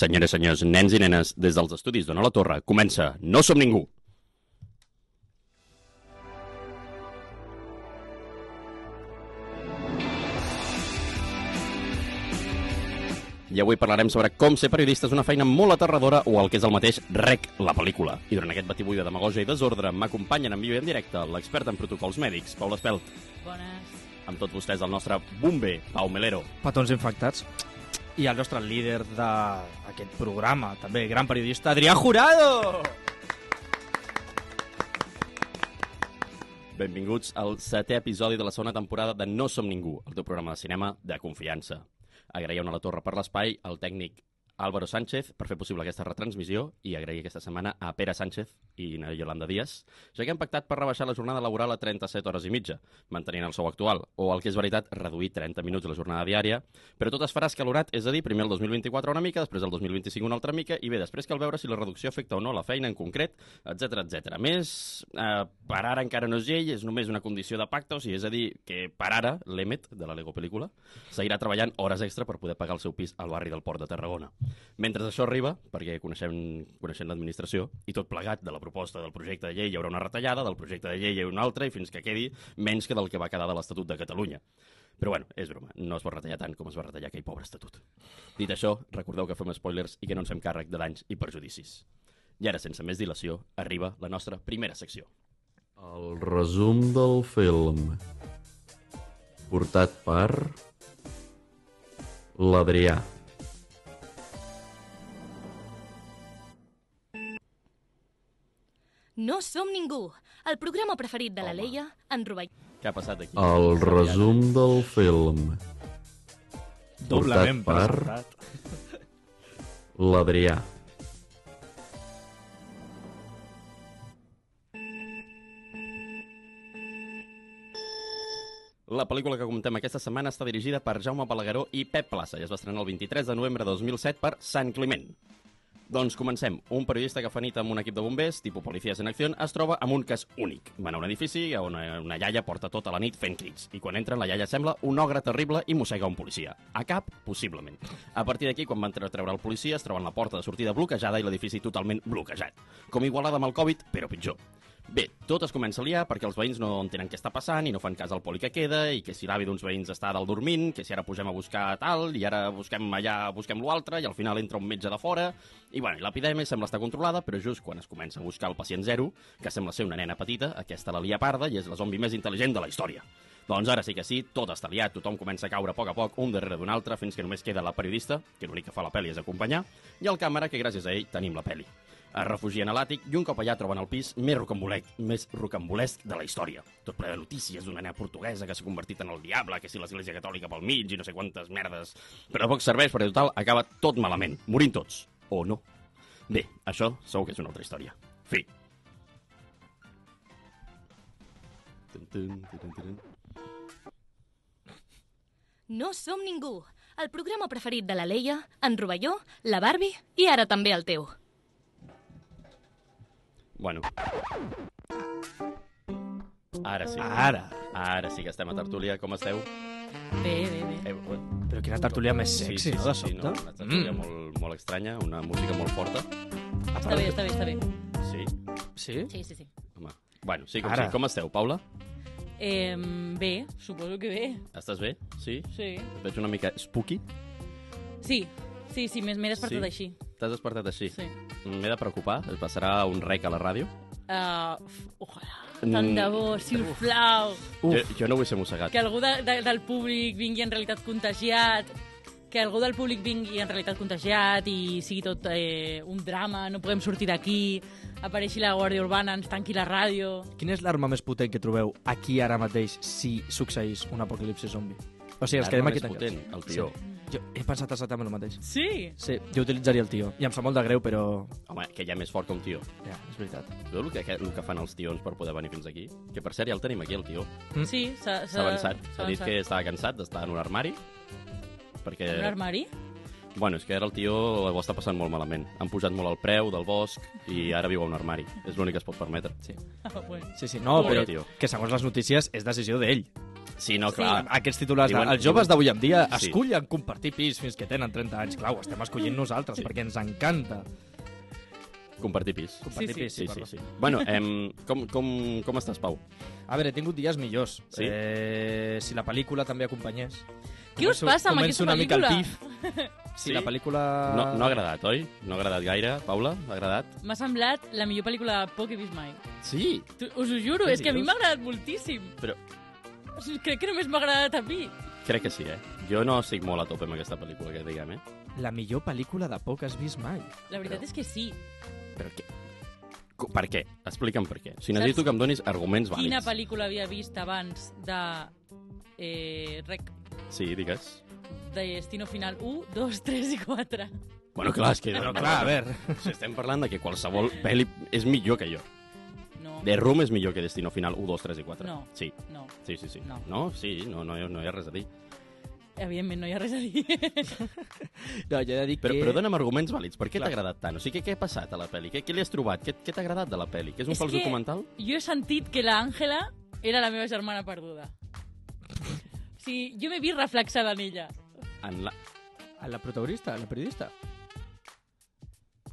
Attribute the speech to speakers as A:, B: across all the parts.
A: Senyores, senyors, nens i nenes, des dels estudis d'Ona la Torre, comença No som ningú! I avui parlarem sobre com ser periodista és una feina molt aterradora o el que és el mateix rec, la pel·lícula. I durant aquest batibull de demagogia i desordre m'acompanyen en viu i en directe l'expert en protocols mèdics, Paula Espelt.
B: Bones.
A: Amb tots vostès el nostre bomber, Pau Melero.
C: petons infectats i el nostre líder d'aquest programa, també gran periodista, Adrià Jurado!
A: Benvinguts al setè episodi de la segona temporada de No som ningú, el teu programa de cinema de confiança. Agraïm a la Torre per l'espai, al tècnic Álvaro Sánchez per fer possible aquesta retransmissió i agrair aquesta setmana a Pere Sánchez i a Yolanda Díaz, ja que han pactat per rebaixar la jornada laboral a 37 hores i mitja, mantenint el sou actual, o el que és veritat, reduir 30 minuts la jornada diària, però tot es farà escalorat, és a dir, primer el 2024 una mica, després el 2025 una altra mica, i bé, després cal veure si la reducció afecta o no la feina en concret, etc etc. A més, eh, per ara encara no és llei, és només una condició de pacte, o sigui, és a dir, que per ara l'Emet, de la Lego Pel·lícula, seguirà treballant hores extra per poder pagar el seu pis al barri del Port de Tarragona. Mentre això arriba, perquè coneixem, coneixem l'administració, i tot plegat de la proposta del projecte de llei hi haurà una retallada, del projecte de llei hi haurà una altra, i fins que quedi menys que del que va quedar de l'Estatut de Catalunya. Però bueno, és broma, no es pot retallar tant com es va retallar aquell pobre estatut. Dit això, recordeu que fem spoilers i que no ens fem càrrec de danys i perjudicis. I ara, sense més dilació, arriba la nostra primera secció.
D: El resum del film portat per l'Adrià.
B: No som ningú. El programa preferit de la
A: Home.
B: Leia, en Rovell.
A: Què ha passat aquí?
D: El resum del film
C: Doblement
D: Portat per-
C: presentat.
D: l'Adrià.
A: La pel·lícula que comptem aquesta setmana està dirigida per Jaume Balagueró i Pep Plaça i es va estrenar el 23 de novembre de 2007 per Sant Climent. Doncs comencem. Un periodista que fa nit amb un equip de bombers, tipus policies en acció, es troba amb un cas únic. Van a un edifici on eh, una iaia porta tota la nit fent crits, i quan entren la iaia sembla un ogre terrible i mossega un policia. A cap, possiblement. A partir d'aquí, quan van tre- treure el policia, es troben la porta de sortida bloquejada i l'edifici totalment bloquejat. Com igualada amb el Covid, però pitjor. Bé, tot es comença a liar perquè els veïns no entenen què està passant i no fan cas al poli que queda i que si l'avi d'uns veïns està dalt dormint, que si ara pugem a buscar tal i ara busquem allà, busquem l'altre i al final entra un metge de fora i bueno, i l'epidèmia sembla estar controlada, però just quan es comença a buscar el pacient zero, que sembla ser una nena petita, aquesta la lia parda i és la zombi més intel·ligent de la història. Doncs ara sí que sí, tot està liat, tothom comença a caure a poc a poc, un darrere d'un altre, fins que només queda la periodista, que l'únic que fa la pel·li és acompanyar, i el càmera, que gràcies a ell tenim la pel·li. Es refugien a l'àtic i un cop allà troben el pis més rocambolec, més rocambolesc de la història. Tot ple de notícies d'una nena portuguesa que s'ha convertit en el diable, que si l'església catòlica pel mig i no sé quantes merdes... Però de poc serveix perquè total acaba tot malament, morint tots. O no. Bé, això segur que és una altra història. Fi. Tun, tun, tun, tun, tun.
B: No som ningú. El programa preferit de la Leia, en Rovelló, la Barbie i ara també el teu.
A: Bueno. Ara sí.
C: Ara.
A: Ara sí que estem a Tertúlia. Com esteu?
B: Bé, bé, bé.
A: Eh, eh,
C: Però quina tertúlia més sexy, no, de
A: sí, no?
C: sobte?
A: Una tertúlia mm. molt, molt estranya, una música molt forta.
B: Està bé, està bé, està bé.
A: Sí,
C: Sí?
B: Sí, sí, sí.
A: home. Bueno, sí, com,
C: Ara.
A: sí. com esteu, Paula?
E: Eh, bé, suposo que bé,
A: Estàs bé? Sí?
E: sí.
A: Et veig una mica spooky.
E: Sí, sí, sí, m'he m'he despertat
A: Sí?
E: així.
A: T'has despertat així? Mm,
E: Sí.
A: M'he de preocupar? Es passarà un rec a la ràdio?
E: Uh, f- ojalà,
A: Mm.
E: tant de bo, sisplau,
A: Uf. Jo, jo no vull ser mossegat.
E: que algú de, de, del públic vingui en realitat contagiat, que algú del públic vingui en realitat contagiat i sigui tot eh, un drama, no podem sortir d'aquí, apareixi la Guàrdia Urbana, ens tanqui la ràdio...
C: Quina és l'arma més potent que trobeu aquí ara mateix si succeís un apocalipsi zombi? O sigui,
A: L'arma
C: ens quedem
A: més
C: aquí
A: potent,
C: tancats.
A: el tió.
C: Sí. Jo he pensat exactament el mateix.
E: Sí!
C: Sí, jo utilitzaria el tio. I em sap molt de greu, però...
A: Home, que ja més fort que un tió.
C: Ja, és veritat.
A: Veu el que, el que fan els tions per poder venir fins aquí? Que per cert ja el tenim aquí, el tió.
C: Mm.
E: Sí, s'ha
A: S'ha avançat. S'ha dit eh, que estava cansat d'estar en un armari. Perquè...
E: Un armari?
A: Bueno, és que ara el tio ho està passant molt malament. Han pujat molt el preu del bosc i ara viu a un armari. És l'únic que es pot permetre.
C: Sí.
E: Ah, bueno.
C: Sí, sí, no,
A: Pobre
C: però
A: tio.
C: que segons les notícies és decisió d'ell.
A: Sí, no,
E: Sí.
A: clar.
C: Aquests titulars,
A: Diuen-
C: diuen, els joves d'avui en dia
A: Sí.
C: sí. escullen compartir pis fins que tenen 30 anys. Clau, estem escollint nosaltres perquè ens encanta
A: ah, Compartir pis.
C: compartir
E: Sí,
C: pis.
A: Sí, sí,
C: perdó.
A: sí. Bueno, em, com, com, com estàs, Pau?
C: A veure, he tingut dies millors.
A: Sí?
C: Eh, si la pel·lícula també acompanyés.
E: Què us passa amb
C: començo
E: aquesta
C: una mica al
E: pel·lícula?
C: pif. Si
A: Sí?
C: sí? la pel·lícula...
A: No, no ha agradat, oi? No ha agradat gaire. Paula, ha agradat?
E: M'ha semblat la millor pel·lícula de por que he vist mai.
A: Sí.
E: Tu- Us ho juro,
A: Què
E: és que a mi
A: dius?
E: m'ha agradat moltíssim.
A: Però-
E: O sigui, Crec que només m'ha agradat a mi.
A: Crec que sí, eh? Jo no estic molt a tope amb aquesta pel·lícula, que diguem, eh?
C: La millor pel·lícula de por que has vist mai.
E: La veritat és que sí.
A: Però què? Co- Per què? Explica'm per què. Si
E: Saps
A: necessito que em donis arguments vàlids.
E: Quina pel·lícula havia vist abans de... Eh, rec,
A: Sí, digues.
E: de Destino Final 1, 2, 3 i 4.
A: Bueno, clar, és que...
C: Però clar, a veure...
A: Si estem parlant de que qualsevol pel·li és millor que jo.
E: No,
A: The Room és millor que Destino Final 1, 2, 3 i 4.
E: No.
A: Sí,
E: no.
A: sí, sí. sí.
E: No.
A: no? Sí, no, no, no hi ha res a dir.
E: Evidentment, no hi ha res a dir.
C: No, jo he de dir
A: Però,
E: Eh,
C: que...
A: però dona'm arguments vàlids. Per què t'ha
C: Clar.
A: agradat tant? O sigui, què, què ha passat a la pel·li? Què, què li has trobat? Què, què t'ha agradat de la pel·li? Que és un
E: És
A: fals
E: que-
A: documental?
E: jo he sentit que la Àngela era la meva germana perduda. O sigui, jo m'he vist reflexada en ella.
A: En la...
C: A la protagonista, a la periodista.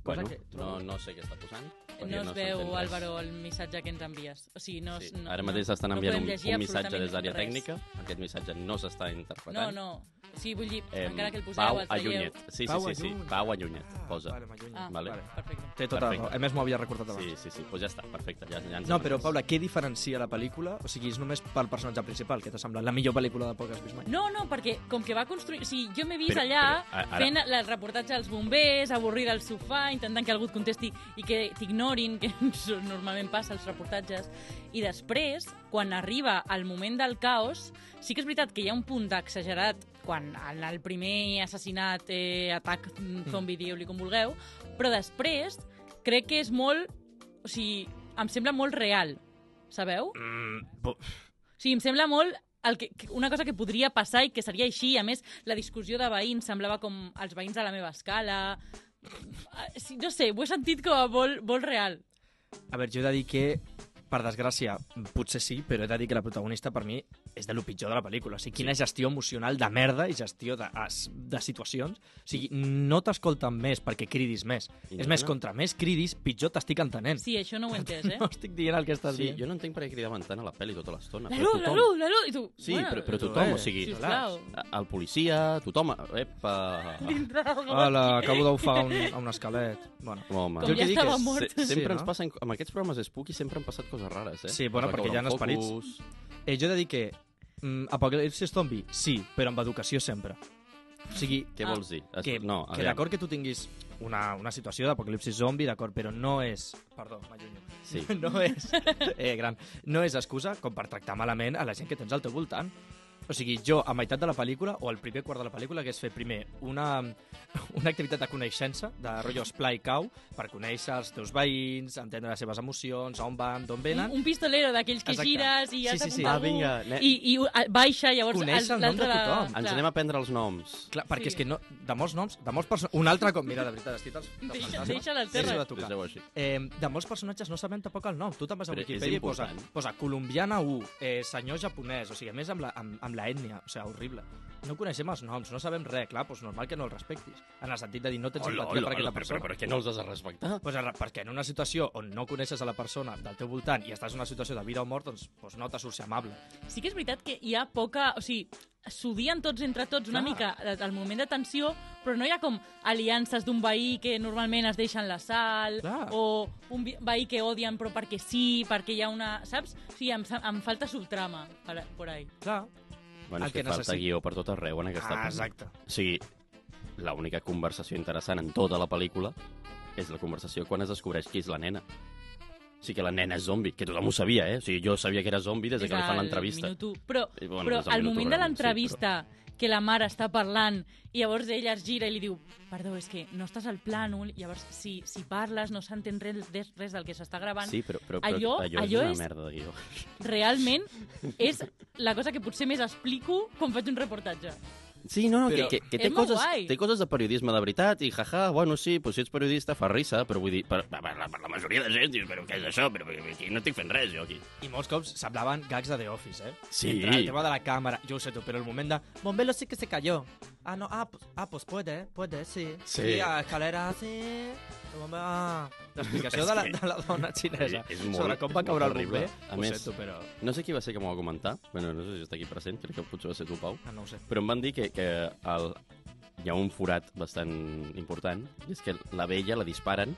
C: Cosa
A: Bueno,
C: que-
A: no, no sé què està posant. perquè
E: No es veu,
A: s'entén res.
E: Álvaro, el missatge que ens envies. O sigui, no...
A: sí.
E: no
A: Ara
E: no-
A: mateix s'estan
E: no
A: enviant
E: podem
A: un,
E: llegir
A: un missatge
E: absolutament
A: des d'àrea
E: res.
A: tècnica. Aquest missatge no s'està
E: No,
A: interpretant.
E: no. Sí, vull dir,
A: Em,
E: encara que el
A: Pau
E: poseu, el
A: a
E: traieu...
A: Llunyet. Sí, sí,
C: Pau
A: sí,
C: a
A: sí.
C: Llunyet.
A: Pau a Llunyet. Posa.
C: Vale, m'allunyo.
E: Ah,
A: Vale.
E: Perfecte.
C: Té tota la
A: Perfecte.
C: raó. A més, m'ho havia recordat abans.
A: Sí, sí, sí. Pues ja està, perfecte. Ja, ja ens
C: No, però
A: avances.
C: Paula, què diferencia la pel·lícula? O sigui, és només pel personatge principal, que t'ha semblat la millor pel·lícula de por que has vist mai.
E: No, no, perquè com que va construir... O sigui, jo m'he vist
A: Però-
E: allà
A: però, a- ara-
E: fent el reportatge als bombers, avorrida al sofà, intentant que algú et contesti i que t'ignorin, que això normalment passa als reportatges. I després, quan arriba el moment del caos, sí que és veritat que hi ha un punt d'exagerat quan en el primer assassinat, eh, atac mm, zombi, digueu-li com vulgueu, però després crec que és molt... O sigui, em sembla molt real, sabeu?
A: Mm,
E: O sigui, em sembla molt el que, que- una cosa que podria passar i que seria així. A més, la discussió de veïns semblava com els veïns a la meva escala... Ah, Sí, no sé, ho he sentit com a molt, molt real.
C: A veure, jo he de dir que, per desgràcia, potser sí, però he de dir que la protagonista per mi és de lo pitjor de la pel·lícula. O sigui, quina gestió emocional de merda i gestió de, as- de situacions. O sigui, no t'escolten més perquè cridis més.
A: I
C: és
A: no,
C: més,
A: no.
C: contra més cridis, pitjor t'estic entenent.
E: Sí, això no ho he entès, eh?
C: No estic dient el que estàs
A: Sí,
C: dient.
A: jo no entenc per què cridaven tant a la pel·li tota l'estona.
E: La
A: però
E: llum, la
A: tothom-
E: llum, la llum! I tu,
A: Sí,
E: bueno,
A: però, però
C: tu-
A: tothom,
C: eh,
A: o sigui,
E: sisplau.
A: el policia, tothom... Epa!
E: Dintre del govern.
C: Hola, acabo d'ofar un, a un esquelet. Bueno.
A: Home.
E: Com
C: Jo el
E: ja
C: que dic
E: estava
C: és-
E: mort.
A: Se, sempre ens
C: Sí, no?
A: passen... Amb aquests programes spooky sempre han passat coses rares, eh?
C: Sí, bueno,
A: Es va
C: perquè hi ha
A: caure un
C: esperits.
A: focus.
C: Eh, jo he de dir que mm, apocalipsis zombi, sí, però amb educació sempre. O sigui,
A: Què
E: Ah.
A: vols dir? Es-
C: que,
A: no,
C: que d'acord que tu tinguis una, una situació d'apocalipsis zombi, d'acord, però no és... Perdó, m'allunyo.
A: Sí.
C: No és... Eh, gran. No és excusa com per tractar malament a la gent que tens al teu voltant. O sigui, jo, a meitat de la pel·lícula, o al primer quart de la pel·lícula, hagués fet primer una, una activitat de coneixença, de rotllo esplai cau, per conèixer els teus veïns, entendre les seves emocions, on van, d'on
E: Un,
C: venen...
E: un pistolero d'aquells que
C: Exacte.
E: gires i has
C: Sí, sí, sí.
A: Ah,
E: d'apuntar algú.
A: vinga, ne-
E: I, i uh, baixa, llavors...
C: Conèixer el nom de
E: l'altre
C: tothom.
E: clar.
A: Ens anem a prendre els noms.
C: Clar, perquè
E: Sí.
C: és que no, de molts noms, de molts personatges... Un altre cop, mira, de veritat, estic dels, dels
E: Deixa-
C: fantasmes.
E: deixa la terra.
C: Deixa de
A: Es
C: tocar.
A: veu així.
C: Eh, de molts personatges no sabem tampoc el nom. Tu te'n vas a
A: Però és
C: Wikipedia i posa,
A: important.
C: posa colombiana 1, eh, senyor japonès, o sigui, a més amb la, amb, amb la ètnia, o sigui, horrible. No coneixem els noms, no sabem res, clar, doncs normal que no els respectis. En el sentit de dir, no tens
A: Hola,
C: empatia
A: hola,
C: per
A: hola,
C: aquesta
A: però, però,
C: persona.
A: per Ah. què no els has de respectar?
C: Pues ara, perquè en una situació on no coneixes a la persona del teu voltant i estàs en una situació de vida o mort, doncs, doncs no t'assurci amable.
E: Sí que és veritat que hi ha poca... O sigui, s'odien tots entre tots una
C: Clar.
E: mica eh, el moment de tensió, però no hi ha com aliances d'un veí que normalment es deixen la sal,
C: Clar.
E: o un vi- veí que odien però perquè sí, perquè hi ha una... Saps? O sigui, em, sa- em falta subtrama per, por ahí.
C: Clar,
A: Bueno,
C: El
A: és que, Ah,
C: que
A: falta
C: necessit-
A: guió per tot arreu en aquesta pel·li.
C: exacte.
A: O sigui, l'única conversació interessant en tota la pel·lícula és la conversació quan es descobreix qui és la nena. O sigui que la nena és zombi, que tothom ho sabia, eh? O sigui, jo sabia que era zombi des, de que li fan
E: del
A: l'entrevista.
E: minut u. Però,
A: Eh, bueno,
E: bueno, però
A: des del
E: al
A: minut u,
E: moment de
A: realment,
E: l'entrevista, sí, però... que la mare està parlant i llavors ella es gira i li diu perdó, és que no estàs al plànol, llavors si, si parles no s'entén res, des- res del que s'està gravant.
A: Sí, però, però, però allò,
E: Allò-
A: allò,
E: allò
A: és una
E: és-
A: merda de guió.
E: realment és la cosa que potser més explico quan faig un reportatge.
A: Sí, no, no,
C: Però-
A: que, que, que
E: És
A: té,
E: molt
A: coses,
E: guai.
A: té coses de periodisme de veritat i jaja, bueno, sí, pues si ets periodista fa risa, però vull dir, per, per, per, la, per la majoria de gent dius, però què és això? Però aquí no estic fent res, jo, aquí.
C: I molts cops s'hablaven gags de The Office, eh?
A: Sí.
C: Entre el tema de la càmera, jo ho sé tu, però el moment de... Bombelo sí que se cayó. Ah, no, ah, pues, ah, pues puede, puede, sí.
A: Sí.
C: a escalera, sí. El bombe- Ah. L'explicació
A: És
C: de, la,
A: que-
C: de la dona xinesa
A: És- és molt-
C: sobre com va
A: és molt
C: caure el
A: terrible.
C: bomber,
A: A
C: ho
A: més-
C: sento, però...
A: No sé qui va ser que m'ho va comentar, bueno, no sé si està aquí present, crec que potser va ser tu, Pau,
C: Ah, no ho sé.
A: però em van dir que, que el, hi ha un forat bastant important, i és que la vella la disparen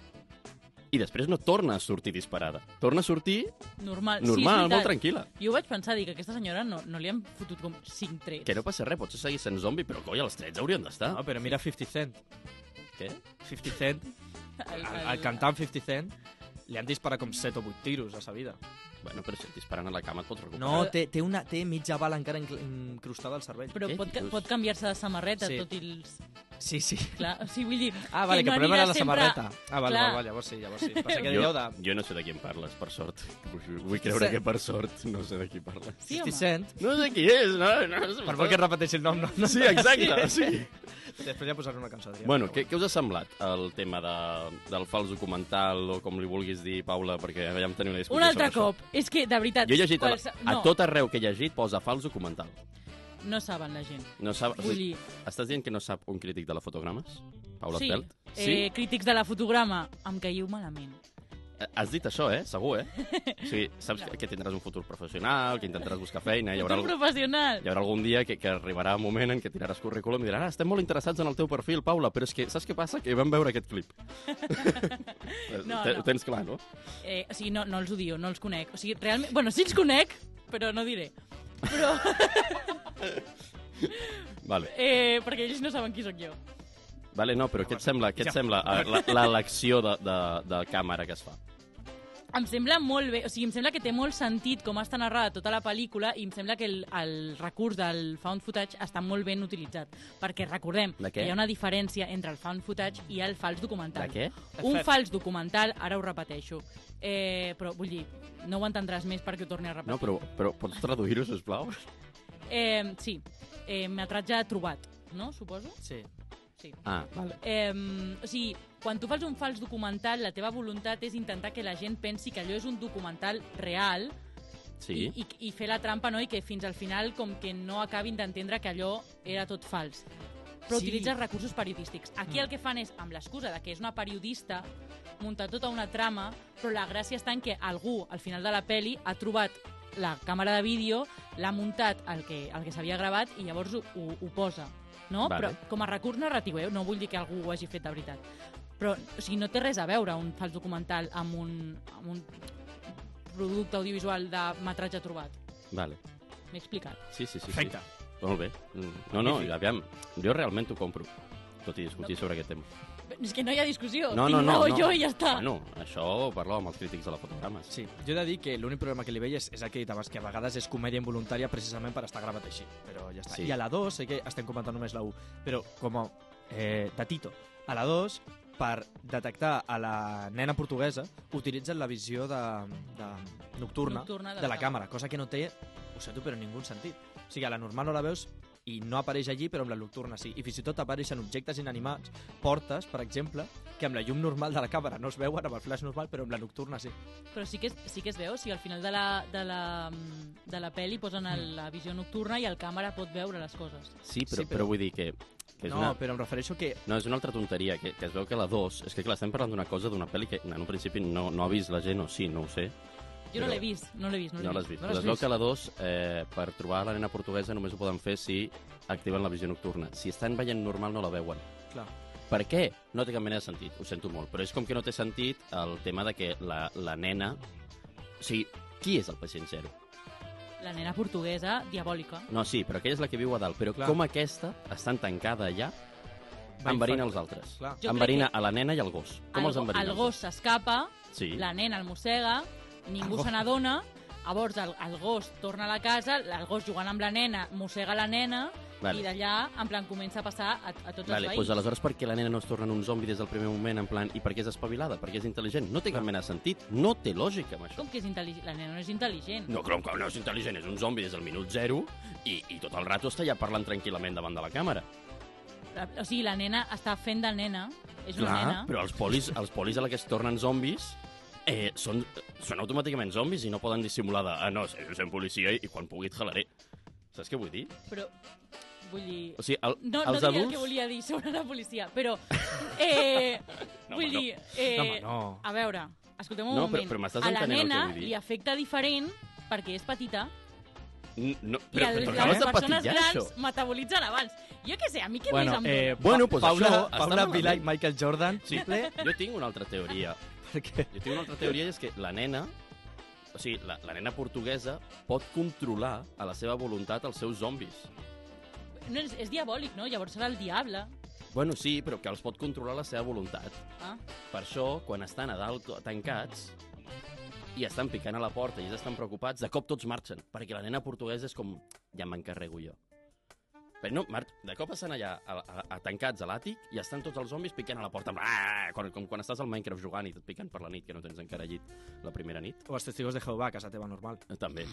A: i després no torna a sortir disparada. Torna a sortir
C: Eh,
E: Normal, sí, és
A: normal, molt
E: veritat.
A: tranquil·la.
E: Jo ho vaig pensar, dic, aquesta senyora no, no li han fotut com 5 trets.
A: Que no passa res, potser seguir sent zombi, però coi, els trets haurien d'estar.
C: No, però mira 50 Cent.
A: Què?
C: 50 Cent, el, el cantant 50 Cent, li han disparat com 7 o 8 tiros a sa vida.
A: Bueno, però si et disparen a la cama et pots recuperar.
C: No, té, té, una, té mitja bala encara incl- incrustada al cervell.
E: Però
A: Què
E: pot, ca-
A: dius?
E: pot canviar-se de samarreta,
C: Sí.
E: sí. tot i els...
C: Sí, sí.
E: Clar, o sigui, vull dir...
C: Ah, vale, que,
E: no
C: el problema era
E: anirà
C: la
E: sempre-
C: samarreta. Ah, vale,
E: Clar.
C: vale, vale, llavors sí, llavors sí. Passa que
A: jo,
C: dieu de...
A: jo no sé de qui em parles, per sort. Vull, vull creure
C: Sí.
A: que per sort no sé de qui parles.
E: Sí,
C: 50
E: home.
C: Cent.
A: No sé qui és, no? no, no
C: Per favor que repeteixi el nom, no? no.
A: Sí, exacte, sí.
C: Després ja posaré una cançó. Adrià.
A: Bueno, què, què us ha semblat el tema de, del fals documental o com li vulguis dir, Paula, perquè ja vam tenir una discussió
E: Un altre
A: sobre
E: cop. És que, de veritat...
A: Això. Jo he llegit a, la,
E: qualse-
A: a
E: no,
A: tot arreu que he llegit posa fals documental.
E: No saben la gent.
A: No sap,
E: Vull dir...
A: Estàs dient que no sap un crític de la fotogrames? Paula
E: sí,
A: Espelt?
E: Eh, crítics de la fotograma, em caieu malament.
A: Has dit això, eh? Segur, eh? O sigui, saps que, que tindràs un futur professional, que intentaràs buscar feina, Eh, hi haurà,
E: Futur
A: algú-
E: professional.
A: hi haurà algun dia que, que arribarà un moment en què tiraràs currículum i diran ah, estem molt interessats en el teu perfil, Paula, però és que saps què passa? Que vam veure aquest clip.
E: No,
A: Te-
E: no.
A: Ho tens clar, no?
E: Eh, o sigui, no, no els odio, no els conec. O sigui, realment... Bueno, sí els conec, però no diré. Però,
A: Vale,
E: eh, perquè ells no saben qui sóc jo.
A: vale no, però què et sembla, què et
C: Ja.
A: sembla eh, la- l'elecció de, de, de càmera que es fa?
E: Em sembla molt bé, o sigui, em sembla que té molt sentit com està narrada tota la pel·lícula i em sembla que el, el recurs del found footage està molt ben utilitzat. Perquè recordem
A: De què?
E: que hi ha una diferència entre el found footage i el fals
A: De
E: documental.
A: què?
E: Un
C: Fet.
E: fals documental, ara ho repeteixo, eh, però vull dir, no ho entendràs més perquè ho torni a repetir.
A: No, però, però pots traduir-ho, sisplau?
E: Eh, sí, eh, metratge trobat, no? Suposo?
C: Sí.
E: Sí.
A: Ah, vale.
E: Eh, o sigui, quan tu fas un fals documental, la teva voluntat és intentar que la gent pensi que allò és un documental real
A: Sí.
E: i, i, i fer la trampa, no? I que fins al final com que no acabin d'entendre que allò era tot fals.
C: Sí.
E: Però sí. utilitzes recursos periodístics. Aquí
C: Mm.
E: el que fan és, amb l'excusa de que és una periodista, muntar tota una trama, però la gràcia està en que algú, al final de la peli ha trobat la càmera de vídeo, l'ha muntat el que, el que s'havia gravat i llavors ho, ho, ho posa. No?
A: Vale.
E: Però com a recurs narratiu, eh? no vull dir que algú ho hagi fet de veritat. Però o sigui, no té res a veure un fals documental amb un, amb un producte audiovisual de metratge trobat.
A: Vale.
E: M'he explicat.
A: Sí, sí, sí. sí.
C: Perfecte.
A: Molt bé. No, no,
C: Magnífic.
A: aviam, jo realment t'ho compro, tot i discutir sobre aquest tema.
E: És que no hi ha discussió.
A: No,
E: Tinc
A: no, no.
E: raó
A: no.
E: jo i ja està.
A: Bueno, això ho parlo amb els crítics de la fotograma.
C: Sí, jo he de dir que l'únic problema que li veig és, és el que he dit abans, que a vegades és comèdia involuntària precisament per estar gravat així, però ja està.
A: Sí.
C: I a la 2, sé que estem comentant només la 1, però com a eh, de Tito, a la 2, per detectar a la nena portuguesa, utilitzen la visió de, de nocturna,
E: Nocturna
C: de la càmera, cosa que no té, ho sento, però ningú sentit. O sigui, a la normal no la veus i no apareix allí, però amb la nocturna sí. I fins i tot apareixen objectes inanimats, portes, per exemple, que amb la llum normal de la càmera no es veuen, amb el flash normal, però amb la nocturna sí.
E: Però sí que, es, sí que es veu, o sigui, al final de la, de la, de la peli posen el,
A: Mm.
E: la visió nocturna i el càmera pot veure les coses.
A: sí, però,
C: Sí, però-
A: però... vull dir que, que és
C: no,
A: una...
C: però em refereixo que...
A: No, és una altra tonteria, que, que es veu que la 2... És que, clar, estem parlant d'una cosa, d'una pel·li que en un principi no, no ha vist la gent, o sí, no ho sé.
E: Jo no
A: Però-
E: l'he vist, no l'he vist. No l'he
A: No l'has
E: vist.
A: vist.
C: no
A: No
C: l'has
A: es veu
C: vist.
A: que la 2, eh, per trobar la nena portuguesa, només ho poden fer si activen la visió nocturna. Si estan veient normal, no la veuen.
C: Clar.
A: Per què? No té cap mena de sentit, ho sento molt. Però és com que no té sentit el tema de que la, la nena... O sigui, qui és el pacient zero?
E: La nena portuguesa, diabòlica.
A: No, sí, però aquella és la que viu a dalt. Però
C: Clar.
A: com aquesta està tancada allà, enverina els altres.
C: Clar.
E: Jo crec
A: enverina a la nena i al gos. Com
E: el,
A: els enverina?
E: El gos s'escapa,
A: Sí.
E: la nena el mossega,
C: El
E: ningú
C: gos.
E: se n'adona, llavors el, el gos torna a la casa, el gos jugant amb la nena mossega la nena Vale. I d'allà, en plan, comença a passar a, a tots
A: Vale,
E: els veïns.
A: doncs aleshores per què la nena no es torna en un zombi des del primer moment, en plan, i per què és espavilada, per què és intel·ligent? No té cap mena de sentit, no té lògica amb això.
E: Com que és intel·ligent? La nena no és intel·ligent.
A: No, com que no és intel·ligent, és un zombi des del minut zero i, i tot el rato està ja parlant tranquil·lament davant de la càmera.
E: La- O sigui, la nena està fent de nena. És una nena.
A: però els polis, els polis a la que es tornen zombis eh, són, són automàticament zombis i no poden dissimular de, ah, no, jo sent policia i quan pugui et jalaré. Saps què vull dir?
E: Però, vull dir...
A: O sigui, el,
E: No, no
A: els
E: diria el
A: adults...
E: que volia dir sobre la policia, però... Eh,
A: No,
E: vull
A: home, no.
E: dir... Eh,
C: No, home, no.
E: A veure, escolteu un
A: No, però-
E: moment.
A: però m'estàs
E: a la
A: entenent el que
E: nena
A: vull dir.
E: li afecta diferent perquè és petita
A: No,
E: i
A: però,
E: el,
A: però
E: les
A: acabes de
E: persones
A: patillar,
E: grans
A: això.
E: metabolitzen abans. Jo què sé, a mi què més
C: Bueno,
E: em
C: eh,
E: dona?
A: Bueno, pues
C: Paula,
A: això està
C: Paula
A: malament.
C: Vilà i Michael Jordan,
A: Sí.
C: ple,
A: Jo tinc una altra teoria.
C: perquè
A: Jo tinc una altra teoria i és que la nena, o sigui, la, la nena portuguesa pot controlar a la seva voluntat els seus zombis.
E: No, és, és diabòlic, no? Llavors serà el diable.
A: Bueno, sí, però que els pot controlar a la seva voluntat.
E: Ah.
A: Per això, quan estan a dalt co- tancats i estan picant a la porta i ells estan preocupats, de cop tots marxen, perquè la nena portuguesa és com, ja m'encarrego jo. Però no, mar... de cop estan allà a, a, a tancats a l'àtic i estan tots els zombis picant a la porta. Ah, com, com quan estàs al Minecraft jugant i tot picant per la nit, que no tens encara llit la primera nit. eh,
C: o els testigos de Jehovà, a casa teva normal.
A: També.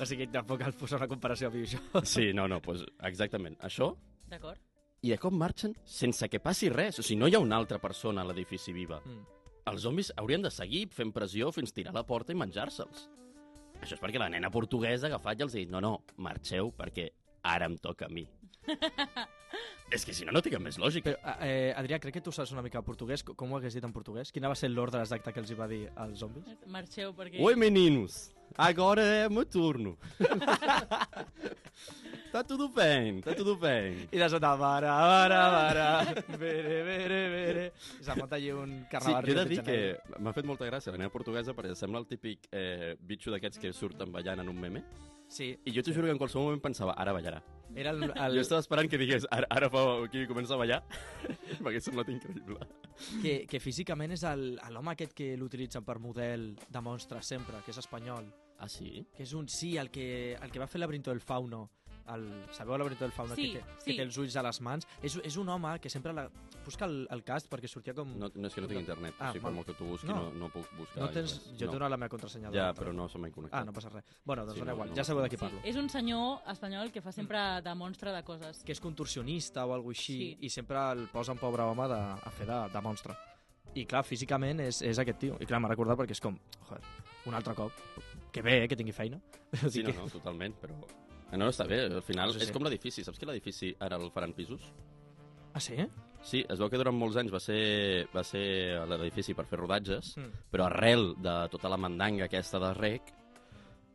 C: O sigui, tampoc cal posar una comparació amb això.
A: Sí, no, no, doncs exactament. Això,
E: D'acord?
A: i de cop marxen sense que passi res. O sigui, no hi ha una altra persona a l'edifici viva.
C: Mm.
A: Els zombis haurien de seguir fent pressió fins tirar la porta i menjar-se'ls. Això és perquè la nena portuguesa ha agafat i els ha dit no, no, marxeu perquè ara em toca a mi. és que si no, no té cap més lògica.
C: Però, eh, Adrià, crec que tu saps una mica portuguès. Com- Com ho hagués dit en portuguès? Quina va ser l'ordre exacte que els hi va dir als zombis?
E: Marxeu perquè...
A: Oi, meninos, agora é meu turno. tá tudo bem, tá tudo bem.
C: I de sota, bara, bara, bara, bere, bere, bere... I s'ha muntat allí un
A: Sí,
C: carnaval.
A: jo he de
C: Rio
A: dir que
C: Janeiro.
A: m'ha fet molta gràcia la nena portuguesa perquè sembla el típic eh, bitxo d'aquests que surten ballant en un meme.
C: Sí,
A: I jo t'ho juro que en qualsevol moment pensava, ara ballarà.
C: era el...
A: Jo
C: el
A: estava esperant que digués, ara, ara fa aquí comença a ballar. M'hagués semblat increïble.
C: que, que físicament és el- l'home aquest que l'utilitzen per model de monstre sempre, que és espanyol.
A: Ah, sí?
C: Que és un sí, el que, el que va fer el laberinto del fauno. El, sabeu el laberinto del fauno?
E: Sí,
C: que, té,
E: sí.
C: que té els ulls a les mans. És, és un home que sempre... La... Busca el, el cast perquè sortia com...
A: No, no és que no tinc internet, ah,
C: Ah,
A: o sigui,
C: val.
A: per molt que tu busqui, no,
C: No.
A: no puc buscar.
C: no tens...
A: res.
C: Jo t'he donat la meva contrasenya. de
A: Ja,
C: l'altre.
A: però no se m'ha connectat.
C: Ah, no passa res. Bueno, doncs
A: Sí,
C: dona
A: no,
C: igual,
A: no.
C: ja sabeu de qui
E: Sí,
C: parlo.
E: és un senyor espanyol que fa sempre de monstre de coses.
C: Que és contorsionista o alguna així,
E: Sí.
C: i sempre el posen, pobre home, de, a fer de, de monstre. I clar, físicament és, és aquest tio. I clar, m'ha recordat perquè és com, joder, un altre cop. Que bé, eh, que tingui feina.
A: Sí, no, no, totalment, però... Ah, No, no, està bé, al final
C: No
A: no
C: sé
A: sé és
C: si-
A: com l'edifici. Saps que l'edifici ara el faran pisos?
C: Ah, sí?
A: Sí, es veu que durant molts anys va ser, va ser l'edifici per fer rodatges,
C: Mm.
A: però arrel de tota la mandanga aquesta de rec,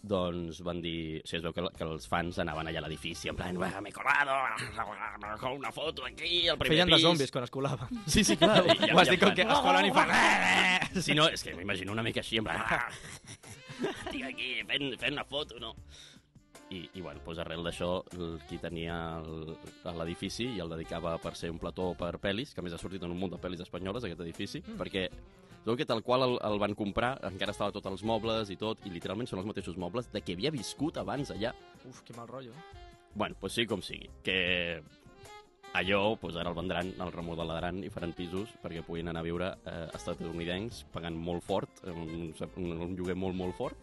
A: doncs van dir... O sigui, es veu que, que els fans anaven allà a l'edifici, en plan, "Uah, m'he colado, una foto aquí, al primer
C: Feien de
A: pis...
C: zombis quan es colaven.
A: Sí, sí, clar. I, i,
C: Ho has dit com
A: en
C: que
A: plan,
C: es colen i fan...
A: Si no, és que m'imagino una mica així, en plan... "Ah, Estic aquí fent, fent una foto, no? I, i bueno, doncs arrel d'això, el- qui tenia el- l'edifici i el dedicava per ser un plató per pel·lis, que a més ha sortit en un munt de pel·lis espanyoles, aquest edifici, mm. perquè veu que tal qual el, el van comprar, encara estava tot els mobles i tot, i literalment són els mateixos mobles de que havia viscut abans allà.
C: Uf, que mal rotllo. eh?
A: Bueno, doncs sí, com sigui, que allò, doncs ara el vendran, el remodelaran i faran pisos perquè puguin anar a viure eh, estatunidencs pagant molt fort, eh, un, un, un lloguer molt, molt fort,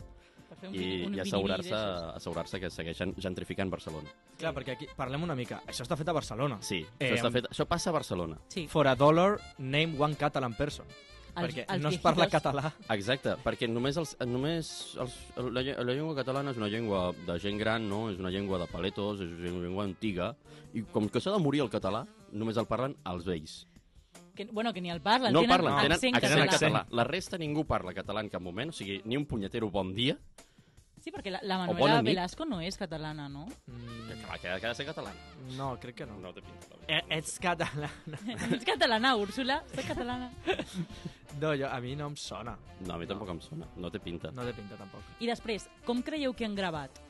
E: Per fer un,
A: i,
E: un
A: i
E: vinili
A: assegurar-se
E: d'essos.
A: assegurar que segueixen gentrificant Barcelona.
C: Clar, perquè aquí parlem una mica. Això està fet a Barcelona.
A: Sí, eh,
C: Eh,
A: això, està fet, això passa a Barcelona.
E: Sí,
C: For a dollar, name one Catalan person.
E: els-
C: perquè
E: els
C: no es parla
E: viejitos.
C: català.
A: Exacte, perquè només, els, només els, la, lle- la llengua catalana és una llengua de gent gran, no? És una llengua de paletos, és una llengua antiga, i com que s'ha de morir el català, només el parlen els vells.
E: Que, bueno, que ni el parlen.
A: No
E: tenen
A: parlen, tenen
E: accent
A: accent,
E: català.
A: català. La resta ningú parla català en cap moment, o sigui, ni un punyetero bon dia,
E: Sí, perquè la, la
A: bona
E: Manuela
A: nit.
E: Velasco no és catalana, no?
A: que
C: Mm,
A: clar, que ha de ser català.
C: no, crec que no.
A: No té pinta.
C: E- Ets català.
E: Ets catalana, Úrsula? Soc catalana.
C: No, jo, a mi no em sona.
A: No, a mi tampoc em sona, no té pinta.
C: No té pinta, tampoc.
E: I després, com creieu que han gravat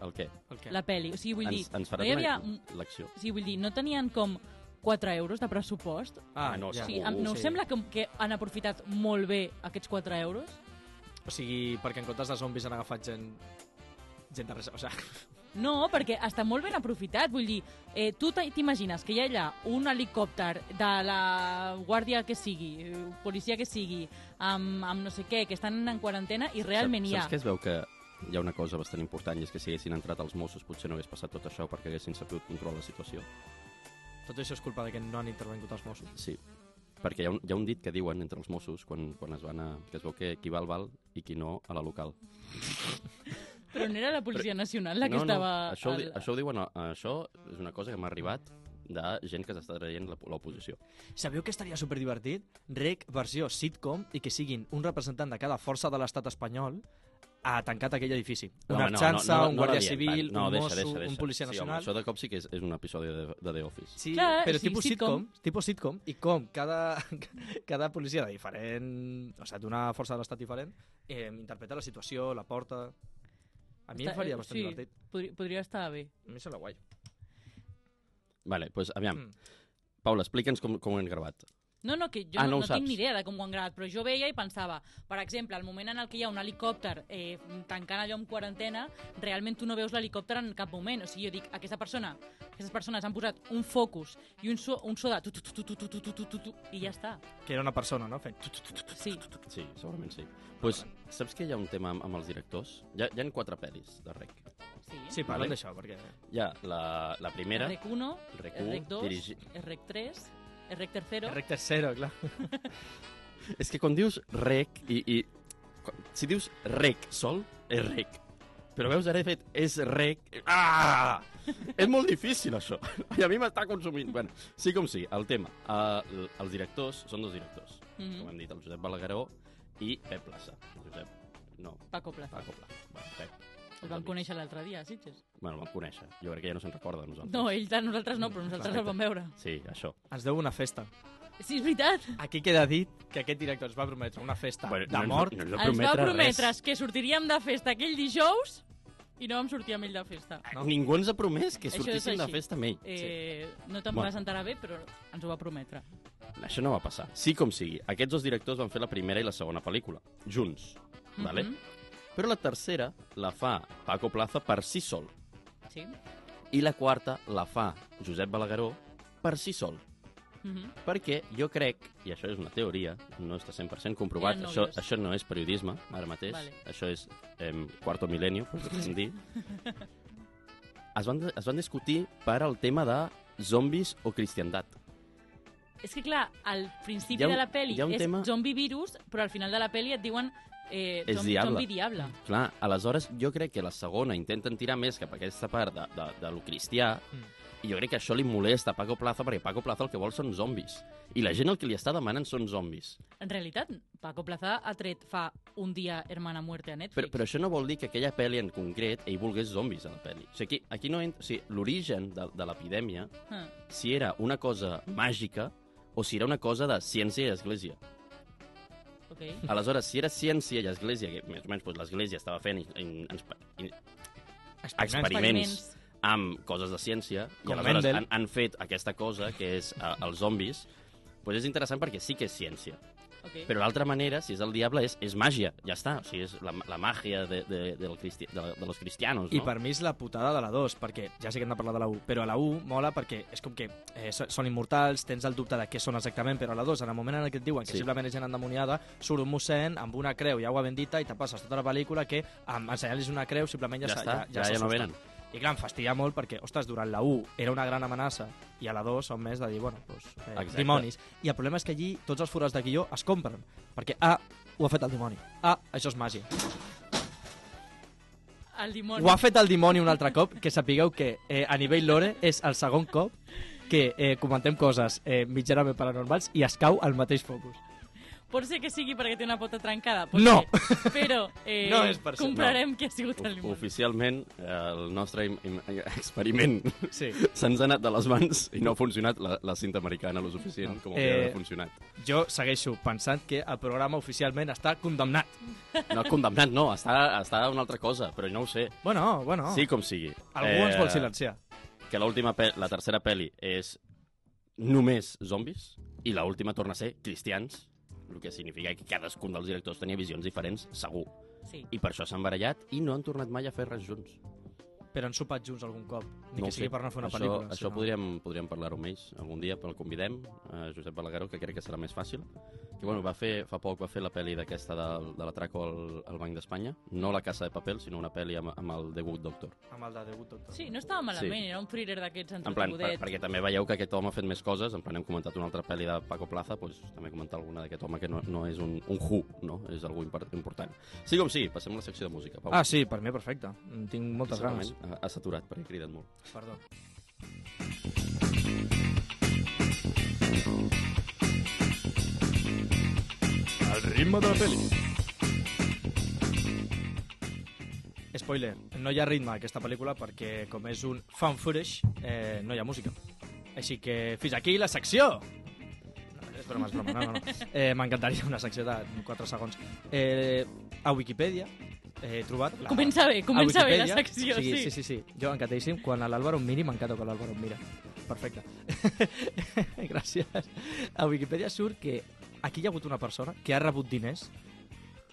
A: El què?
C: El què?
E: la peli? O sigui, vull dir,
A: ens, ens farà
E: no hi havia...
A: una lecció.
E: O sigui, vull dir, no tenien com 4 euros de pressupost?
A: Ah, no,
E: O
A: sí,
E: sigui,
A: Uh,
E: em- no us
C: sí.
E: sembla que, que han aprofitat molt bé aquests 4 euros?
C: O sigui, perquè en comptes de zombis han agafat gent... Gent de res... O sigui,
E: No, perquè està molt ben aprofitat. Vull dir, eh, tu t'i- t'imagines que hi ha allà un helicòpter de la guàrdia que sigui, eh, policia que sigui, amb, amb no sé què, que estan en quarantena i realment
A: Saps,
E: hi ha...
A: saps que es veu que hi ha una cosa bastant important i és que si haguessin entrat els Mossos potser no hagués passat tot això perquè haguessin sabut controlar la situació.
C: Tot això és culpa de que no han intervingut els Mossos.
A: Sí, perquè hi ha un, hi ha un dit que diuen entre els Mossos quan, quan es van a... que es veu que qui val, val i qui no, a la local.
E: Però no era la Policia Nacional la que
A: no,
E: estava...
A: no, això, ho di-
E: al-
A: això ho diuen... a- Això és una cosa que m'ha arribat de gent que s'està traient la- l'oposició.
C: Sabeu que estaria superdivertit? Rec versió sitcom i que siguin un representant de cada força de l'estat espanyol ha tancat aquell edifici.
A: No,
C: Una
A: home, no,
C: arxança,
A: no, no,
C: un
A: no la
C: guàrdia
A: diem,
C: civil,
A: tant. no,
C: un
A: deixa,
C: mosso,
A: deixa, deixa.
C: un policia
A: Sí, home,
C: nacional...
A: això de cop sí que és, és un episodi de, de The Office.
C: Sí,
E: Clar,
C: però
E: sí,
C: tipus
E: sitcom.
C: sitcom, tipus sitcom, i com cada, cada policia de diferent, o sigui, d'una força de l'estat diferent, eh, interpreta la situació, la porta... A mi
E: Està- eh,
C: em faria bastant
E: sí.
C: divertit.
E: Podria, podria estar bé.
C: A mi sembla guai.
A: Vale, doncs, pues, aviam.
C: Mm.
A: Paula, explica'ns com, com ho hem gravat.
E: No, no, que jo
A: Ah, no
E: no,
A: ho
E: no tinc
A: saps.
E: ni idea de com ho han gravat, però jo veia i pensava, per exemple, el moment en el que hi ha un helicòpter eh, tancant allò amb quarantena, realment tu no veus l'helicòpter en cap moment. O sigui, jo dic, aquesta persona, aquestes persones han posat un focus i un so, un so de tu, tu, tu, tu, tu, tu, tu, tu, tu, tu, tu, i ja està.
C: Que era una persona, no? Fent... tut, tut, tut, tut.
E: Sí.
A: Sí, segurament sí. Pues, saps que hi ha un tema amb, amb els directors? Hi ha, hi ha quatre pel·lis de REC.
C: Sí,
A: Vale.
C: parlem d'això, perquè...
A: Hi ha la, la primera,
E: REC 1,
A: REC u,
E: REC 2,
A: dirigi-
E: REC 3, REC 3,
C: Rec tercero, clar.
A: És que quan dius rec i... i quan- si dius rec sol, és rec. Però veus, ara he fet és rec... Ah! és molt difícil, això. I a mi m'està consumint. Bueno, sí com sí, el tema. Uh, els directors són dos directors. Mm. Com
E: Mhm.
A: hem dit, el Josep Balagueró i Pep Plaça. El Josep... No,
E: Paco Plaza.
A: Paco Plaça. Bueno, Pep.
E: El vam conèixer l'altre dia, a Sitges.
A: Bueno, el vam conèixer. Jo crec que ja no se'n recorda de nosaltres.
E: No, ell de nosaltres no, però nosaltres el vam veure.
A: Sí, això.
C: Ens deu una festa.
E: Sí, és veritat.
C: Aquí queda dit que aquest director ens va prometre una festa bueno, de mort.
A: No, ens
E: Ens va prometre que sortiríem de festa aquell dijous i no vam sortir amb ell de festa.
A: No. Ningú ens ha promès que
E: Això és
A: sortíssim de
E: així.
A: festa amb ell. Eh...
E: Eh, No te'n
A: Bueno.
E: vas enterar bé, però ens ho va prometre.
A: Sí. Això no va passar. Sí com sigui, aquests dos directors van fer la primera i la segona pel·lícula, junts. Vale?
E: Mhm,
A: Però la tercera la fa Paco Plaza per si sol.
E: Sí.
A: I la quarta la fa Josep Balagueró per si sol.
E: mhm.
A: Perquè jo crec, i això és una teoria, no està 100% comprovat,
E: Eren
A: això,
E: nòvios.
A: això no és periodisme ara mateix,
E: Vale.
A: això és em, quarto milenio, per podríem dir. Es van, es van discutir per al tema de zombis o cristiandat.
E: És que, clar, al principi
A: Hi ha un-
E: de la peli
A: hi ha un
E: és
A: tema-
E: zombie virus, però al final de la peli et diuen eh,
A: És
E: zombi,
A: diable. Mm.
E: zombi diable.
A: Clar, aleshores jo crec que la segona intenten tirar més cap a aquesta part de, de, de lo cristià,
C: Mm.
A: i jo crec que això li molesta a Paco Plaza, perquè Paco Plaza el que vol són zombis. I la gent el que li està demanant són zombis.
E: En realitat, Paco Plaza ha tret fa un dia Hermana Muerte a Netflix.
A: Però, però això no vol dir que aquella pel·li en concret ell volgués zombis a la pel·li. O sigui, aquí, aquí no entra... O sigui, l'origen de, de l'epidèmia,
E: Ah,
A: si era una cosa màgica o si era una cosa de ciència i església.
E: ok.
A: Aleshores, si era ciència i església, que més o menys doncs, l'església estava fent in, in, in, in, experiments amb coses de ciència
C: Com
A: i aleshores
C: Mendel.
A: han, han fet aquesta cosa que és uh, els zombis, doncs és interessant perquè sí que és ciència.
E: Okay.
A: Però l'altra manera, si és el diable, és, és màgia, ja està. O sigui, és la, la màgia de, de, del cristi, de, de los cristianos,
C: I
A: no?
C: per mi és la putada de la 2, perquè ja sé que hem de parlar de la 1, però a la 1 mola perquè és com que eh, so- són immortals, tens el dubte de què són exactament, però a la 2, en el moment en què et diuen que
A: Sí.
C: sí. simplement és gent endemoniada, surt un mossèn amb una creu i aigua bendita i te passes tota la pel·lícula que amb ensenyar-los una creu simplement ja,
A: ja,
C: s'ha-
A: està, ja, ja, ja, ja no
C: s'assusten.
A: venen.
C: I clar, em fastidia molt perquè, ostres, durant la 1 era una gran amenaça i a la 2 són més de dir, bueno, doncs, eh,
A: Exacte.
C: dimonis. I el problema és que allí tots els forats de guió es compren, perquè ah, ho ha fet el dimoni. Ah, això és màgia.
E: El dimoni.
C: Ho ha fet el dimoni un altre cop, que sapigueu que eh, a nivell lore és el segon cop que eh, comentem coses eh, mitjanament paranormals i es cau al mateix focus.
E: Pot ser que sigui perquè té una pota trencada. Pot
C: No.
E: Ser. Però eh,
C: No és per això,
E: comprarem que ha sigut el
A: O-
E: limón.
A: Oficialment, eh, el nostre im- im- experiment
C: Sí.
A: se'ns ha anat de les mans i no ha funcionat la, la cinta americana lo suficient com hauria
C: Eh,
A: d'haver funcionat.
C: Jo segueixo pensant que el programa oficialment està condemnat.
A: No, condemnat no, està, està una altra cosa, però no ho sé.
C: Bueno, bueno,
A: Sí com sigui. Eh,
C: algú ens vol silenciar.
A: que l'última pe- la tercera peli és només zombis i la última torna a ser cristians, el que significa que cadascun dels directors tenia visions diferents, segur.
E: Sí.
A: I per això s'han barallat i no han tornat mai a fer res junts.
C: però han sopat junts algun cop, ni
A: ho
C: que
A: sé.
C: sigui per anar a fer una
A: això,
C: pel·lícula.
A: Això
C: sinó-
A: podríem, podríem parlar-ho amb ells algun dia, però el convidem, a Josep Balagueró, que crec que serà més fàcil. Que, bueno, va fer, fa poc va fer la pel·li d'aquesta de, de l'atraco al, al Banc d'Espanya, no la Casa de Papel, sinó una pel·li amb, amb el The Good Doctor.
C: Amb el de debut, doctor.
E: Sí, no estava malament,
A: Sí.
E: era un thriller d'aquests
A: En plan, per,
E: entretingudet.
A: perquè també veieu que aquest home ha fet més coses, en plan hem comentat una altra pel·li de Paco Plaza, doncs també comentar alguna d'aquest home que no, no és un, un who, no? És algú impor- important. Sí com sí, passem a la secció de música, Pau.
C: Ah, sí, per mi perfecte. En Tinc moltes ganes.
A: Segurament ha- ha saturat perquè criden molt.
C: Perdó. El ritme de la peli. Spoiler, no hi ha ritme a aquesta pel·lícula perquè com és un fan footage eh, no hi ha música. Així que fins aquí la secció! No, És broma, és broma, no, no, no. Eh, M'encantaria una secció de 4 segons. Eh, a Wikipedia eh, he trobat... La...
E: Comença bé, comença
C: a
E: bé la
C: Wikipedia.
E: secció,
C: sí.
E: sí.
C: Sí, sí, sí. Jo encantadíssim. Quan l'Àlvaro em miri, m'encanta quan l'Àlvaro em mira. Perfecte. Gràcies. A Wikipedia surt que aquí hi ha hagut una persona que ha rebut diners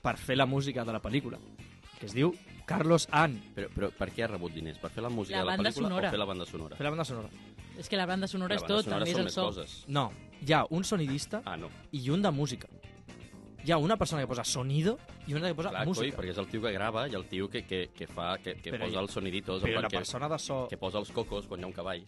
C: per fer la música de la pel·lícula, que es diu Carlos Ann.
A: Però, però per què ha rebut diners? Per fer la música
E: La
A: de la
E: banda
A: pel·lícula
E: sonora.
A: o fer la banda sonora?
C: Fer la banda sonora.
E: És que la banda sonora
A: La
E: és
A: banda
E: tot,
A: sonora
E: també és
A: són
E: el
A: més
E: so.
A: Coses.
C: No, hi ha un sonidista
A: Ah, no.
C: i un de música. Hi ha una persona que posa sonido i una que posa
A: Clar, coi,
C: música.
A: perquè és el tio que grava i el tio que, que, que fa, que, que
C: Però
A: posa
C: i-
A: els soniditos, en
C: però
A: plan
C: la
A: que,
C: persona de so...
A: que posa els cocos quan hi ha un cavall.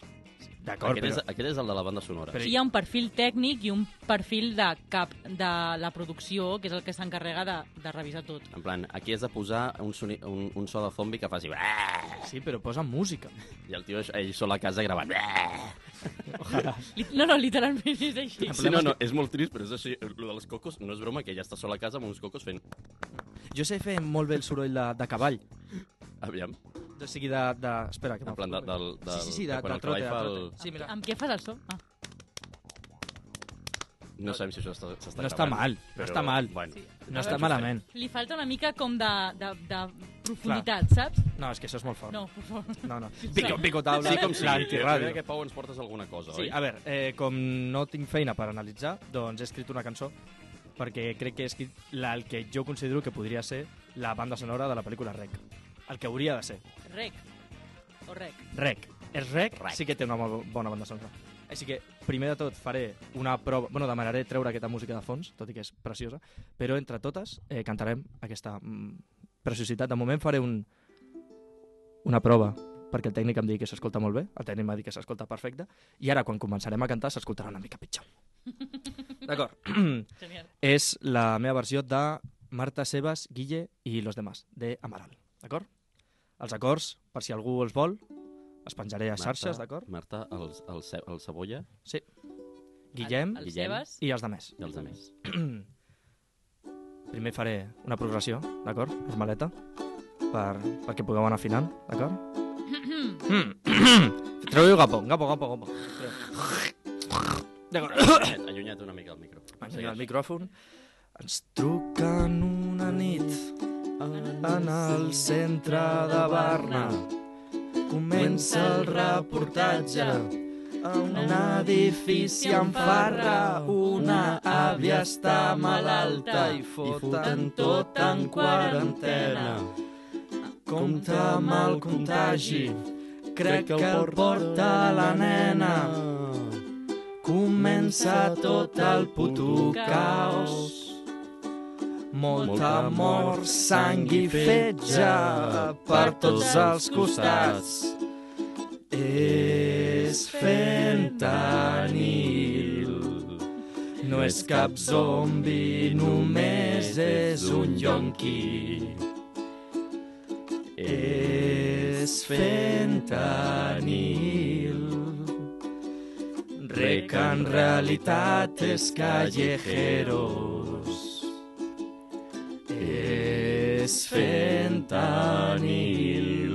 C: D'acord,
A: Aquest,
C: però...
A: és, aquest és el de la banda sonora.
C: Però-
E: Sí, hi ha un perfil tècnic i un perfil de cap de la producció, que és el que s'encarrega de, de revisar tot.
A: En plan, aquí has de posar un, soni, un, un so de zombi que faci...
C: Sí, però posa música.
A: I el tio, ell sol a casa gravant...
C: Ojalà.
E: Li- No, no, literalment és així.
A: Sí, no, no, és molt trist, però és així. Lo dels cocos no és broma, que ja està sol a casa amb uns cocos fent...
C: Jo sé fer molt bé el soroll de, de cavall.
A: Aviam,
C: O sigui, de... de... Espera, que
A: en plan de, del... del
C: Sí, sí, sí, de,
A: quan
C: de,
A: el
C: trote,
A: cavall
C: de
A: fa
C: trote.
A: el-
C: Sí, mira.
E: Amb què fas el so? Ah,
A: No sabem si això està- s'està
C: No està
A: gravant,
C: mal, no
A: però,
C: està mal.
A: Bueno,
C: No està malament.
E: li falta una mica com de, de, de profunditat, saps?
C: No, és que això és molt fort.
E: No, per favor.
C: no. no. Pico, pico taula.
A: Sí, com si...
C: L'antiràdio.
A: que Pau ens portes alguna cosa,
C: Sí,
A: oi?
C: a veure, eh, com no tinc feina per analitzar, doncs he escrit una cançó perquè crec que he escrit la, el que jo considero que podria ser la banda sonora de la pel·lícula Rec. El que hauria de ser.
E: Rec. O rec.
C: Rec. És Rec,
A: Rec.
C: sí que té una molt bona banda sonora. Així que, primer de tot, faré una prova... Bueno, demanaré treure aquesta música de fons, tot i que és preciosa, però entre totes eh, cantarem aquesta mm, preciositat. De moment faré un, una prova perquè el tècnic em digui que s'escolta molt bé, el tècnic m'ha dit que s'escolta perfecte, i ara, quan començarem a cantar, s'escoltarà una mica pitjor. D'acord.
E: Genial.
C: és la meva versió de Marta Sebas, Guille i los demás, de Amaral. D'acord? Els acords, per si algú els vol, els penjaré a xarxes, d'acord?
A: Marta, el, el, ce- el cebolla
C: Guillem
E: el, el
A: Guillem.
E: Sebas.
C: i els demés.
A: i els altres.
C: Primer faré una progressió, d'acord? Normaleta, per, perquè pugueu anar afinant, d'acord? Treu-hi el gapo, gapo, gapo, gapo. Treu. D'acord.
A: Allunyat, allunyat una mica el micro.
C: Engega el micròfon. Ens truquen una nit en el centre de Barna. Comença el reportatge a un edifici en farra. Una àvia està malalta i foten tot en quarantena. Compte amb el contagi, crec que el porta la nena. Comença tot el puto caos. Molta mort, sang i fetge per tots els costats. És fentanil. No és cap zombi, només és un yonqui. És fentanil. Rec en realitat és callejeros. És fentanil.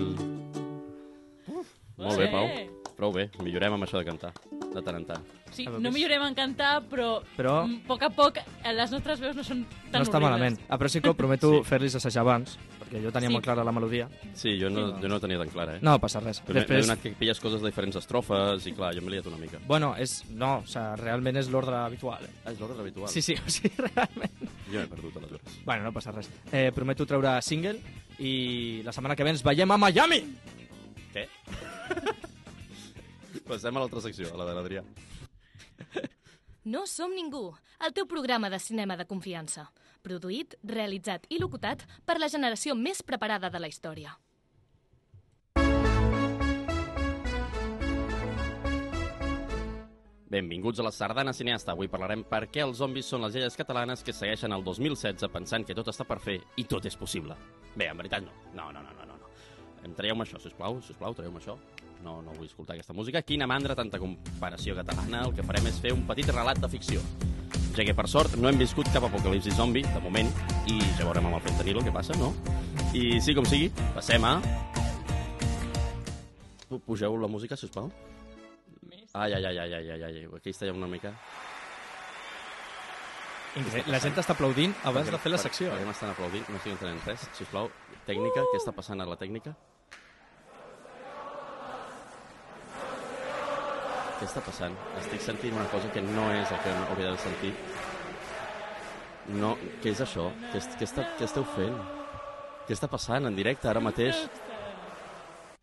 A: Molt bé,
E: Sí.
A: Pau. Prou bé, millorem amb això de cantar, de tant en tant.
E: Sí,
C: A veure,
E: no
C: què és?
E: millorem en cantar, però,
C: Però-
E: mm, a poc a poc eh, les nostres veus no són
C: Oh.
E: tan
C: No està
E: horribles.
C: malament. Ah, però sí que prometo fer-los assajar abans, perquè jo tenia
E: Sí.
C: molt clara la melodia.
A: Sí, jo no, jo no ho tenia tan clara, eh?
C: No passa res.
A: Però Després... m'he
C: Després...
A: adonat que pilles coses de diferents estrofes i clar, jo m'he liat una mica.
C: Bueno, és... No, o sigui, realment és l'ordre habitual. Eh?
A: Ah, és l'ordre habitual.
C: Sí, sí, o sigui, realment...
A: Jo m'he perdut, aleshores.
C: Bueno, no passa res. Eh, prometo treure single i la setmana que ve ens veiem a Miami!
A: Passem a l'altra secció, a la de l'Adrià.
B: No som ningú, el teu programa de cinema de confiança. Produït, realitzat i locutat per la generació més preparada de la història.
A: Benvinguts a la Sardana Cineasta. Avui parlarem per què els zombis són les lleis catalanes que segueixen el 2016 pensant que tot està per fer i tot és possible. Bé, en veritat no. No, no, no, no, no. no. Em traieu-me això, sisplau, sisplau, traieu-me això. No, no vull escoltar aquesta música. Quina mandra, tanta comparació catalana. El que farem és fer un petit relat de ficció. Ja que, per sort, no hem viscut cap apocalipsi zombi, de moment, i ja veurem amb el fentanil el que passa, no? I sí com sigui, passem a... Pu- Pugeu la música, sisplau. Ai, ai, ai, ai, ai, ai, ai, aquí està ja una mica...
C: Increïble. La gent està aplaudint abans de fer la
A: Per-
C: secció. eh?
A: Per, per, m'estan aplaudint, no estic entenent res. Sisplau, tècnica, uh! què està passant a la tècnica? Què està passant? Estic sentint una cosa que no és el que hauria de sentir. No, què és això? Què, est- què, està, què esteu fent? Què està passant en directe ara mateix?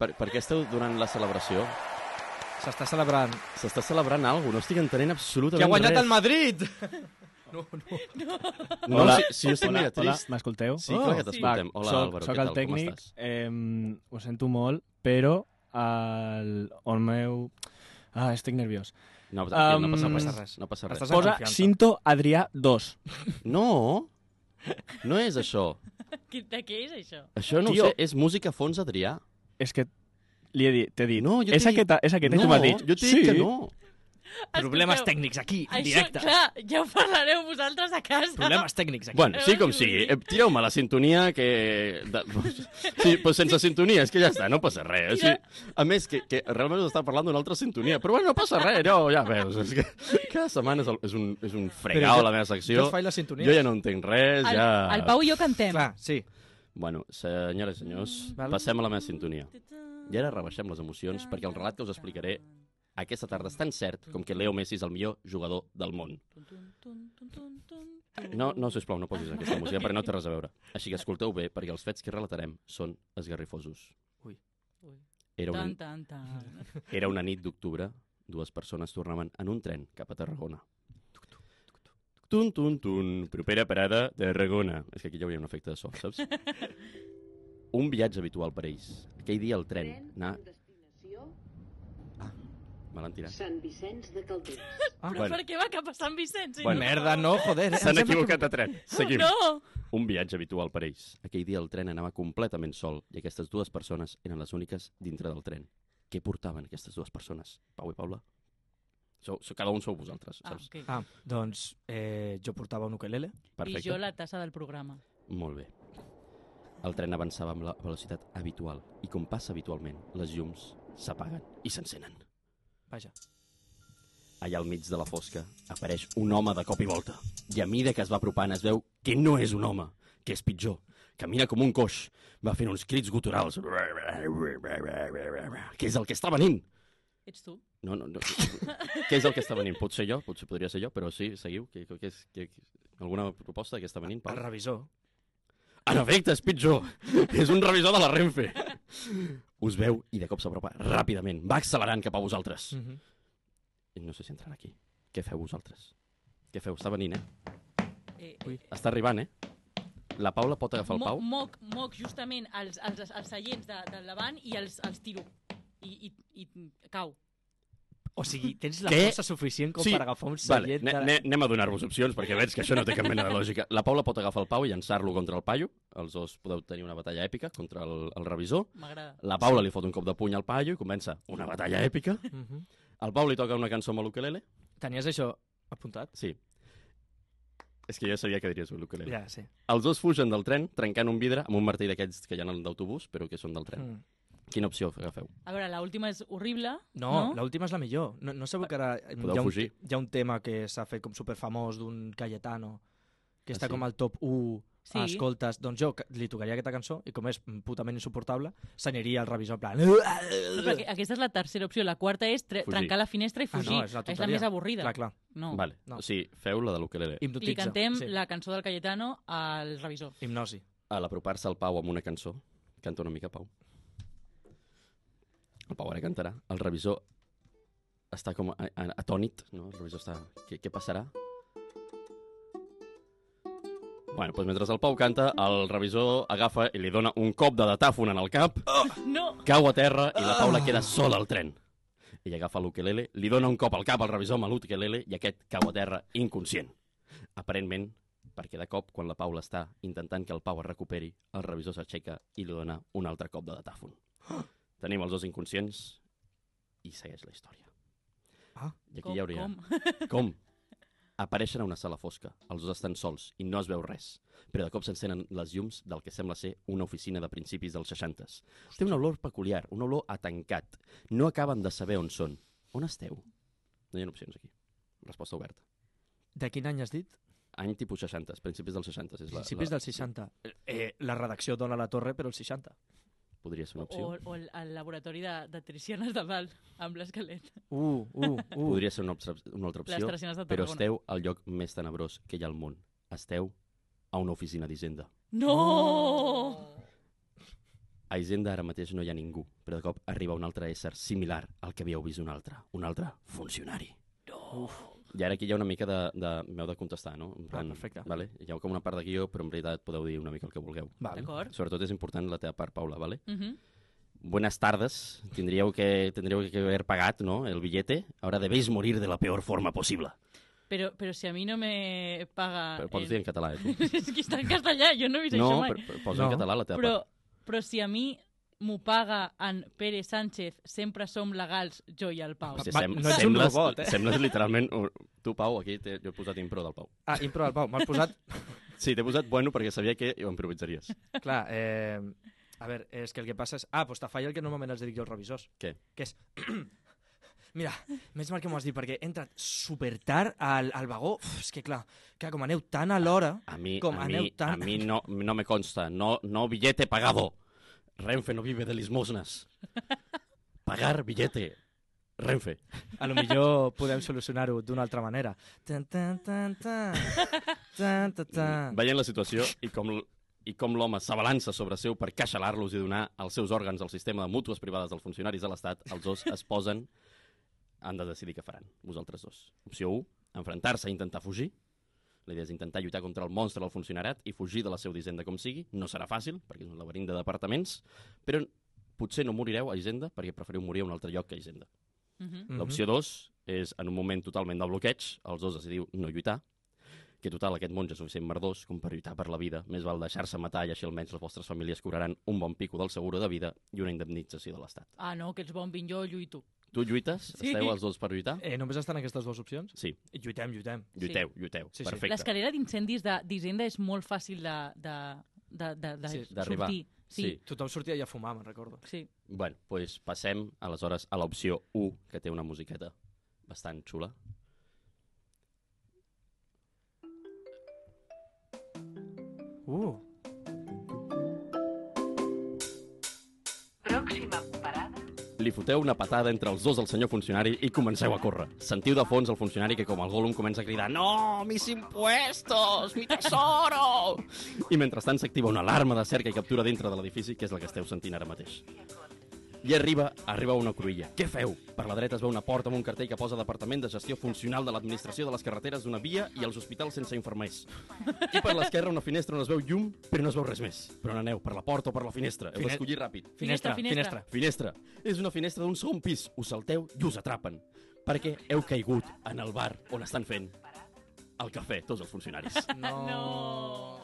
A: Per, per què esteu donant la celebració?
C: S'està celebrant.
A: S'està celebrant alguna cosa, no estic entenent absolutament
C: Que ha guanyat
A: res.
C: el Madrid! No, no.
A: No,
F: Hola.
A: si, si jo estic mira
F: Hola,
A: trist.
F: m'escolteu? Oh.
A: Sí, clar que t'escoltem.
F: Va,
A: Hola,
F: soc,
A: Álvaro,
F: soc
A: què
F: el
A: tal? Com
F: tècnic,
A: estàs?
F: eh, ho sento molt, però el, el meu... Ah, estic nerviós.
A: No, tranquil, no
F: Um,
A: passa
F: no
A: res.
F: passa
C: res.
A: No passa res.
C: Estàs
F: Posa
C: confiança.
F: Cinto Adrià 2.
A: No, no és això.
E: Qui- De què és això?
A: Això no
F: Tio.
A: ho sé, és música a fons Adrià.
F: És que li he dit, t'he dit.
A: No, jo
F: és
A: t'he dit-
F: aquesta, és aquesta, i tu m'has dit.
A: jo t'he dit
F: sí.
A: que no.
C: Problemes
E: Escolteu,
C: tècnics aquí, en
E: Això,
C: directe.
E: clar, ja ho parlareu vosaltres a casa.
C: Problemes tècnics aquí.
A: Bueno, sí com sigui, eh, tireu-me la sintonia que... De... Sí, però sense sintonia, és que ja està, no passa res. O sigui, a més, que, que realment us està parlant d'una altra sintonia, però bueno, no passa res, no, ja veus. És que cada setmana és, el, és, un, és un fregau
C: jo-
A: la meva
C: Jo
A: secció.
C: us faig les sintonies.
A: Jo ja no entenc res,
E: El,
A: ja...
E: el Pau i jo cantem.
C: Clar, sí.
A: Bueno, senyores i senyors,
C: Val.
A: passem a la meva sintonia. I ara rebaixem les emocions perquè el relat que us explicaré aquesta tarda és tan cert com que Leo Messi és el millor jugador del món. No, no, sisplau, no posis aquesta música perquè no té res a veure. Així que escolteu bé perquè els fets que relatarem són esgarrifosos.
C: Ui.
E: Ui.
A: Era una,
E: Tan, tan, tan.
A: era una nit d'octubre, dues persones tornaven en un tren cap a Tarragona. Tun, tun, tun, propera parada, Tarragona. És que aquí ja hauria un efecte de so, saps? Un viatge habitual per ells. Aquell dia el tren, anar...
G: Destinació
A: Me l'han tirat.
G: Sant Vicenç de Calders.
E: Però
A: Bueno.
E: per què va cap a Sant Vicenç?
A: Bueno.
C: Merda, no, joder. eh?
A: S'han
C: Em sembla
A: equivocat de tren. Seguim.
E: No! Ah,
A: Un viatge habitual per ells. Aquell dia el tren anava completament sol i aquestes dues persones eren les úniques dintre del tren. Què portaven aquestes dues persones? Pau i Paula? Sou, sou, cada un sou vosaltres,
E: Ah,
A: saps?
E: okay.
C: Ah, doncs eh, jo portava un ukelele.
E: I jo la tassa del programa.
A: Molt bé. El tren avançava amb la velocitat habitual i com passa habitualment, les llums s'apaguen i s'encenen.
C: Vaja.
A: Allà al mig de la fosca apareix un home de cop i volta. I a mida que es va apropant es veu que no és un home, que és pitjor. Camina com un coix. Va fent uns crits guturals. Què és el que està venint?
E: Ets tu?
A: No, no, no. Què és el que està venint? Pot ser jo, potser podria ser jo, però sí, seguiu. Què, què és, què, alguna proposta que està venint? Pau?
C: El revisor.
A: En efecte, és pitjor. És un revisor de la Renfe. Us veu i de cop s'apropa ràpidament. Va accelerant cap a vosaltres.
C: Mm
F: Mhm.
C: -hmm.
E: Mm.
A: I No sé si entraran aquí. Què feu vosaltres? Què feu? Està venint, eh?
E: Eh,
C: Ui.
A: Està arribant, eh? La Paula pot agafar el
E: Mo-
A: Pau?
E: Moc, moc justament els, els, els seients de, del davant i els, els tiro. I, i, i cau.
C: O sigui, tens la
A: Què?
C: força suficient com
A: Sí.
C: per agafar un
A: Vale,
C: seient
A: ne,
C: de...
A: ne, anem a donar-vos opcions perquè veig que això no té cap mena de lògica. La Paula pot agafar el Pau i llançar-lo contra el paio. Els dos podeu tenir una batalla èpica contra el, el revisor.
E: M'agrada.
A: La Paula li fot un cop de puny al paio i comença una batalla èpica.
C: Mm -hmm.
A: Al Pau li toca una cançó amb l'ukelele.
C: Tenies això apuntat?
A: Sí. És que jo sabia que diries l'ukelele.
C: Ja, sí.
A: Els dos fugen del tren trencant un vidre amb un martell d'aquests que hi ha en d'autobús, però que són del tren.
C: Mm.
A: Quina opció agafeu?
E: A veure, l'última és horrible.
C: No,
E: No?
C: no? l'última és la millor. No, no sabeu que ara hi
A: Podeu
C: ha, un,
A: fugir.
C: hi ha un tema que s'ha fet com superfamós d'un Cayetano que
A: Ah,
C: està
A: sí?
C: com al top 1
E: Sí.
C: sí. escoltes, doncs jo ca- li tocaria aquesta cançó i com és putament insuportable, s'aniria al revisor en plan...
E: Però perquè aquesta és la tercera opció. La quarta és tre-
A: Fugir.
E: trencar la finestra i
C: Ah,
E: fugir.
C: no, és la
E: és la
C: tonteria.
E: més avorrida.
C: Clar, clar.
E: No.
A: Vale.
C: no.
A: O sigui, feu la de l'ukelele.
C: Hipnotitza.
E: Li cantem
C: sí.
E: la cançó del Cayetano al revisor.
C: Hipnosi.
A: A l'apropar-se al Pau amb una cançó, canta una mica Pau. El Pau ara cantarà. El revisor està com a- a- atònit, no? El revisor està... Què, què passarà? Bueno, doncs mentre el Pau canta, el revisor agafa i li dona un cop de datàfon en el cap,
E: No!
A: cau a terra i la Paula queda sola al tren. Ella agafa l'ukelele, li dona un cop al cap al revisor amb l'ukelele i aquest cau a terra inconscient. Aparentment, perquè de cop, quan la Paula està intentant que el Pau es recuperi, el revisor s'aixeca i li dona un altre cop de datàfon. Tenim els dos inconscients i segueix la història.
C: Ah.
A: I aquí hi hauria... Com? Apareixen a una sala fosca, els dos estan sols i no es veu res, però de cop s'encenen les llums del que sembla ser una oficina de principis dels 60. Té una olor peculiar, una olor a tancat. No acaben de saber on són. On esteu? No hi ha opcions aquí. Resposta oberta.
C: De quin any has dit?
A: Any tipus 60, principis dels 60. És la,
C: Principis
A: la,
C: del 60. Eh, la redacció dona la torre, però el 60.
A: Podria ser una opció.
E: O, o el, el laboratori de, de Tricianes de Val, amb l'esquelet.
C: Uh, uh, uh.
A: Podria ser una, obstra- una altra
E: Les
A: opció,
E: Tricianes de
A: però
E: Tarragona.
A: esteu al lloc més tenebrós que hi ha al món. Esteu a una oficina d'Hisenda.
E: No!
A: Oh! A Hisenda ara mateix no hi ha ningú, però de cop arriba un altre ésser similar al que havíeu vist un altre, un altre funcionari. No. I ara aquí hi ha una mica de... de M'heu de contestar, no? En
C: Ah, perfecte.
A: Vale? Hi ha com una part de guió, però en veritat podeu dir una mica el que vulgueu.
C: Val.
E: D'acord?
A: Sobretot és important la teva part, Paula, vale?
E: Mhm.
A: Buenas tardes, tendríeu que, tendríeu que haber pagat, ¿no? El billete. Ahora debéis morir de la peor forma posible.
E: Pero, pero si a mí no me paga...
A: Però pots
E: en-
A: dir en català, eh? tu?
E: es que está en castellà, yo no he vist
A: No,
E: Ah, això mai.
A: però, però posa en
C: No.
A: català la teva
E: Però,
A: part.
E: però si a mi m'ho paga en Pere Sánchez, sempre som legals, jo i el Pau.
A: O sigui,
C: Va,
A: sem
C: no ets un
A: sembles,
C: robot, eh?
A: sembles literalment... un- Tu, Pau, aquí t'he- jo he posat impro del Pau.
C: Ah, impro del Pau. M'has posat...
A: Sí, t'he posat bueno perquè sabia que ho improvisaries.
C: Clar, eh... A veure, és que el que passa és... Ah, doncs te falla el que normalment els dic jo als revisors.
A: Què?
C: Que és... Mira, més mal que m'ho has dit, perquè he entrat supertard al, al vagó. Uf, és que clar, clar, com aneu tan a l'hora...
A: A mi,
C: Com
A: a
C: aneu
A: mi,
C: tan-
A: a mi no, no me consta. No, no billete pagado. Renfe no vive de limosnas. Pagar billete. Renfe.
C: A lo millor podem solucionar-ho d'una altra manera. Tan, tan, tan, tan. Tan, tan, tan.
A: Mm. Veient la situació i com l- i com l'home s'abalança sobre seu per caixalar-los i donar els seus òrgans al sistema de mútues privades dels funcionaris de l'Estat, els dos es posen... Han de decidir què faran, vosaltres dos. Opció 1, enfrontar-se i intentar fugir. La idea és intentar lluitar contra el monstre del funcionariat i fugir de la seu d'Hisenda com sigui. No serà fàcil, perquè és un laberint de departaments, però potser no morireu a Hisenda perquè preferiu morir a un altre lloc que a Hisenda.
E: Mhm.
C: Mhm.
A: L'opció 2 és, en un moment totalment de bloqueig, els dos decidiu no lluitar, que total aquest monge és suficient merdós com per lluitar per la vida, més val deixar-se matar i així almenys les vostres famílies cobraran un bon pico del seguro de vida i una indemnització de l'Estat.
E: Ah, no, que els bombin jo, lluito.
A: Tu lluites?
E: Sí.
A: Esteu els dos per lluitar?
C: Eh, només estan aquestes dues opcions?
A: Sí,
C: Lluitem, lluitem.
A: lluiteu, lluiteu.
C: Sí, sí.
A: Perfecte.
E: L'escalera d'incendis de- d'Hisenda és molt fàcil de, de, de, de, de
C: Sí,
A: d'arribar.
E: sortir. Sí.
A: Sí.
C: Tothom sortia ja a fumar, me'n recordo.
E: sí.
A: Bueno, doncs passem aleshores a l'opció 1, que té una musiqueta bastant xula.
C: Uh,
A: Li foteu una patada entre els dos al senyor funcionari i comenceu a córrer. Sentiu de fons el funcionari que com el Gollum comença a cridar «No, mis impuestos, mi tesoro!» I mentrestant s'activa una alarma de cerca i captura dintre de l'edifici, que és la que esteu sentint ara mateix. I arriba, arriba una cruïlla. Què feu? Per la dreta es veu una porta amb un cartell que posa Departament de Gestió Funcional de l'Administració de les Carreteres d'una via i els hospitals sense infermers. I per l'esquerra una finestra on es veu llum, però no es veu res més. Però on aneu? Per la porta o per la finestra? Heu
C: Fine-
A: d'escollir ràpid.
E: Finestra,
C: finestra,
E: finestra.
C: finestra.
A: Finestra. És una finestra d'un segon pis. Us salteu i us atrapen. Perquè heu caigut en el bar on estan fent el cafè, tots els funcionaris.
C: No.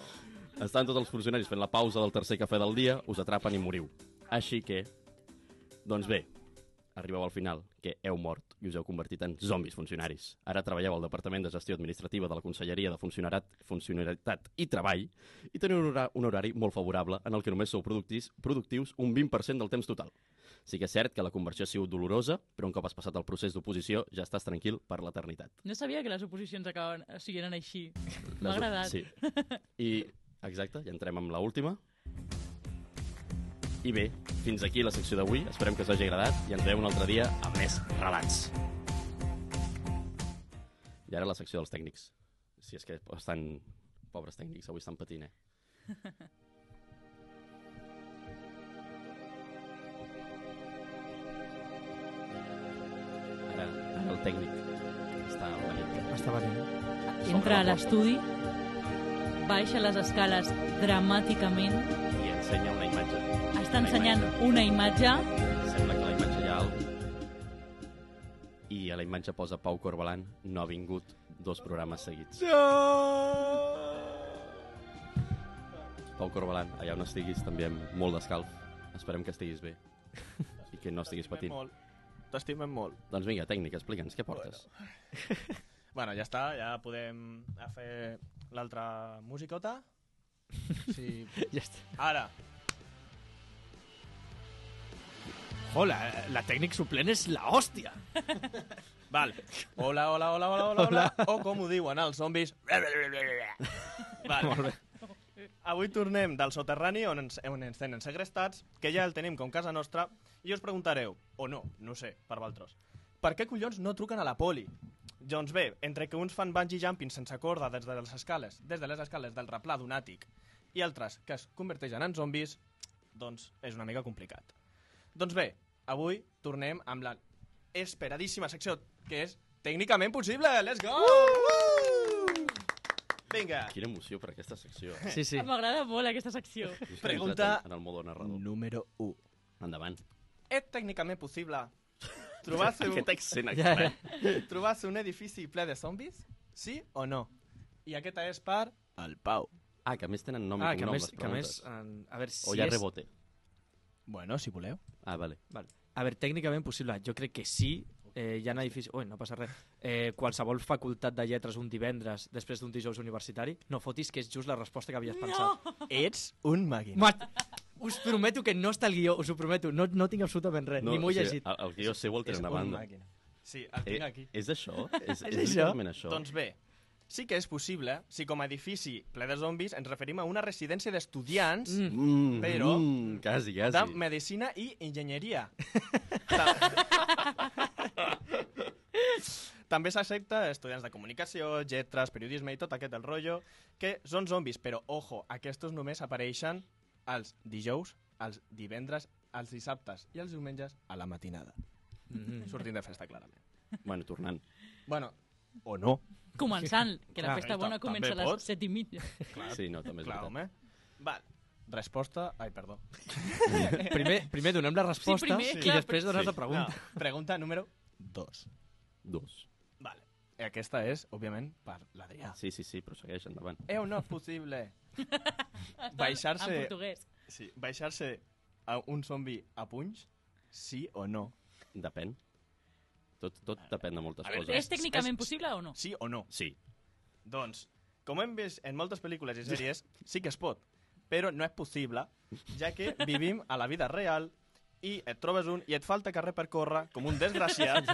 A: Estan tots els funcionaris fent la pausa del tercer cafè del dia, us atrapen i moriu. Així que, doncs bé, arribeu al final, que heu mort i us heu convertit en zombis funcionaris. Ara treballeu al Departament de Gestió Administrativa de la Conselleria de Funcionarat, Funcionalitat i Treball i teniu un, hora, un horari molt favorable en el que només sou productius, productius un 20% del temps total. Sí que és cert que la conversió ha sigut dolorosa, però un cop has passat el procés d'oposició ja estàs tranquil per l'eternitat.
E: No sabia que les oposicions acaben, o sigui, eren així. M'ha agradat.
A: Sí. I, exacte, ja entrem amb l'última. I bé, fins aquí la secció d'avui. Esperem que us hagi agradat i ens veiem un altre dia amb més relats. I ara la secció dels tècnics. Si és que estan... Pobres tècnics, avui estan patint, eh? Ara, ara, tècnic. Està venint.
C: Està venint.
E: Entra a
A: la
E: l'estudi, baixa les escales dramàticament,
A: porta I ensenya una imatge.
E: està ensenyant una imatge,
A: Sembla que a la imatge hi ha alguna I a la imatge posa Pau Corbalan, no ha vingut dos programes seguits. No! Pau Corbalan, allà on estiguis, t'enviem molt d'escalf. Esperem que estiguis bé i que no estiguis patint.
H: T'estimem molt.
A: Doncs vinga, tècnic, explica'ns, què portes?
H: Bueno, ja està, ja podem a fer l'altra musicota. Sí.
C: Ja està.
H: Ara,
C: Oh, la, la tècnic suplent és la hòstia.
H: val. Hola, hola, hola, hola, hola, hola. O com ho diuen els zombis. Val.
C: Molt bé.
H: Avui tornem del soterrani on ens, on ens tenen segrestats, que ja el tenim com casa nostra, i us preguntareu, o no, no ho sé, per valtros, per què collons no truquen a la poli? Doncs bé, entre que uns fan bungee jumping sense corda des de les escales, des de les escales del replà d'un àtic, i altres que es converteixen en zombis, doncs és una mica complicat. Doncs bé, avui tornem amb la esperadíssima secció, que és Tècnicament possible! Let's go!
C: Uh!
H: Vinga!
A: Quina emoció per aquesta secció.
C: Sí, sí.
E: m'agrada molt aquesta secció.
A: Jo és que he
H: Pregunta-
A: entrat En, en el modo narrador.
H: Número 1.
A: Endavant.
H: és tècnicament possible trobar-se un,
A: Aquest accent
C: Ja,
A: estrany.
H: trobar un edifici ple de zombis? Sí o no? I aquesta és per... El Pau.
A: Ah, que a més tenen nom i
C: Ah, que a
A: cognom,
C: més,
A: les
C: que a més,
A: preguntes.
C: en- a veure si
A: O hi ha
C: és...
A: rebote.
H: Bueno, si voleu.
A: Ah, vale.
C: A veure, tècnicament possible. Jo crec que sí. Eh, hi ha edificis... Ui, no passa res. Eh, qualsevol facultat de lletres un divendres després d'un dijous universitari, no fotis que és just la resposta que havies pensat.
H: Ets un màquina.
C: Mat, us prometo que no està el guió, us ho prometo. No, no tinc absolutament res, no, ni m'ho
A: o
C: he
A: sigui,
C: llegit.
A: El, el guió seu el
H: És
A: tenen a
H: un
A: banda.
H: màquina. Sí, el
A: Eh,
H: tinc aquí.
A: és això? És, és,
C: això?
A: literalment això?
H: Doncs bé, sí que és possible si com a edifici ple de zombis ens referim a una residència d'estudiants mm.
A: Mm,
H: però-
A: Mm, quasi, quasi.
H: de medicina i enginyeria. Ta- També s'accepta estudiants de comunicació, lletres, periodisme i tot aquest el rotllo, que són zombis, però ojo, aquests només apareixen els dijous, els divendres, els dissabtes i els diumenges a la matinada.
C: Mm.
H: Sortint de festa, clarament.
A: Bueno, tornant.
H: Bueno, o no.
E: Començant, que la
C: Clar,
E: festa bona
H: tam-
E: comença a
H: Ah, també
E: les
H: pots.
E: set i mitja.
A: Clar. Sí, no, també és
H: Clar,
A: veritat.
H: home. Val. Resposta... Ai, perdó.
C: Primer, primer donem la resposta
E: primer,
C: i
E: clar,
C: després dones
A: sí.
C: la pregunta.
H: No, pregunta número 2.
A: Dos.
H: Vale. I aquesta és, òbviament, per l'Adrià.
A: Sí, sí, sí, però segueix endavant.
H: Eh, no és possible.
E: Està en-
H: Baixar-se-
E: En portuguès.
H: Sí, baixar-se a un zombi a punys, sí o no?
A: Depèn. Tot, tot depèn de moltes
H: A veure,
E: És
A: coses.
E: tècnicament
H: és-
E: possible o no?
H: Sí o no?
A: Sí.
H: Doncs, com hem vist en moltes pel·lícules i sèries, sí que es pot, però no és possible, ja que vivim a la vida real i et trobes un i et falta carrer per córrer com un desgraciat,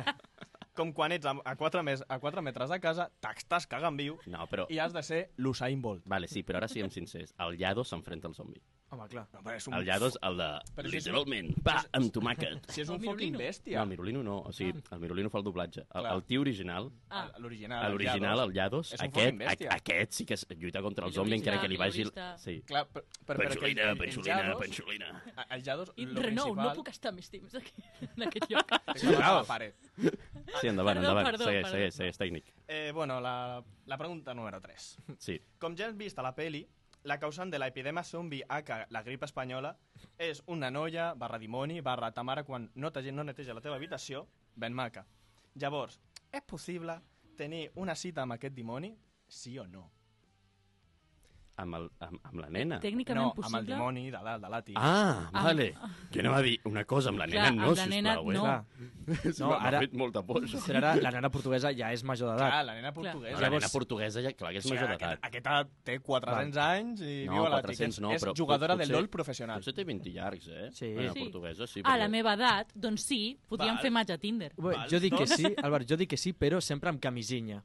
H: com quan ets a, a, 4, mes, a 4 metres de casa, t'estàs cagant viu
A: No, però...
H: i has de ser l'Usain Bolt.
A: Vale, sí, però ara siguem sincers. El Llado s'enfrenta al zombi.
C: Home, clar.
H: No, però és
A: El Llado és el de...
H: Però si és-
A: Literalment, pa, amb tomàquet.
H: Si és
E: El
H: un fucking
A: No,
E: Mirolino.
H: bèstia.
A: el Mirolino no. O sigui, el Mirolino fa el doblatge. El,
H: Clar.
A: el tio original,
E: Ah,
H: L'original.
A: a l'original, el Llados,
H: És un
A: aquest,
H: fucking bèstia.
A: a- aquest sí que es lluita contra el
E: I
A: zombi, encara
E: l'original,
A: que li
E: i
A: vagi...
E: l'orista.
A: Sí.
H: Clar, però, però, però que
A: Penxolina,
H: el- el- el
A: penxolina,
H: Jados-
A: penxolina.
H: A- El Jados,
E: I
H: lo
E: Renou, no
H: principal...
E: puc estar més temps aquí, en aquest lloc.
H: Sí, claro. la paret. Ah,
A: Sí, endavant,
E: Perdó,
A: endavant.
E: perdó,
A: segueix,
E: perdó.
A: segueix, segueix, tècnic.
H: Eh, bueno, la, la pregunta número 3.
A: Sí.
H: Com ja hem vist a la peli, la causant de l'epidèmia zombi AK, la grip espanyola, és una noia, barra dimoni, barra ta mare quan no, te, no neteja la teva habitació, ben maca. Llavors, és possible tenir una cita amb aquest dimoni? Sí o no?
A: Amb, el, amb, amb la nena.
E: Tècnicament
H: No,
E: possible.
H: amb el dimoni de dalt, de l'àtic.
A: Ah, vale. Que anava a dir una cosa amb la nena,
E: Clar,
A: no,
E: amb la nena,
A: sisplau, eh?
E: no.
C: Clar.
A: No,
C: No,
A: ara...
C: ara-
A: M'ha fet molta por, això.
C: Serà, la nena portuguesa ja és major d'edat.
H: Clar, la nena
A: No,
H: portuguesa.
A: la
C: Llavors-
A: nena portuguesa, ja, clar, que és
H: O sigui,
A: major
H: aquest-
A: d'edat.
H: Aquesta té 400 anys i
A: No,
H: viu a l'àtic.
A: 400 no,
H: és
A: però
H: jugadora
A: pot-
H: de
A: potser-
H: LOL professional.
A: Potser té 20 llargs, eh?
C: Sí.
A: La nena
E: Sí.
A: portuguesa, sí.
E: A la meva edat, doncs sí, podríem
H: Val.
E: fer match a Tinder.
C: Bé,
H: Val,
C: jo dic que
H: doncs-
C: sí, Albert, jo dic que sí, però sempre amb camisinha.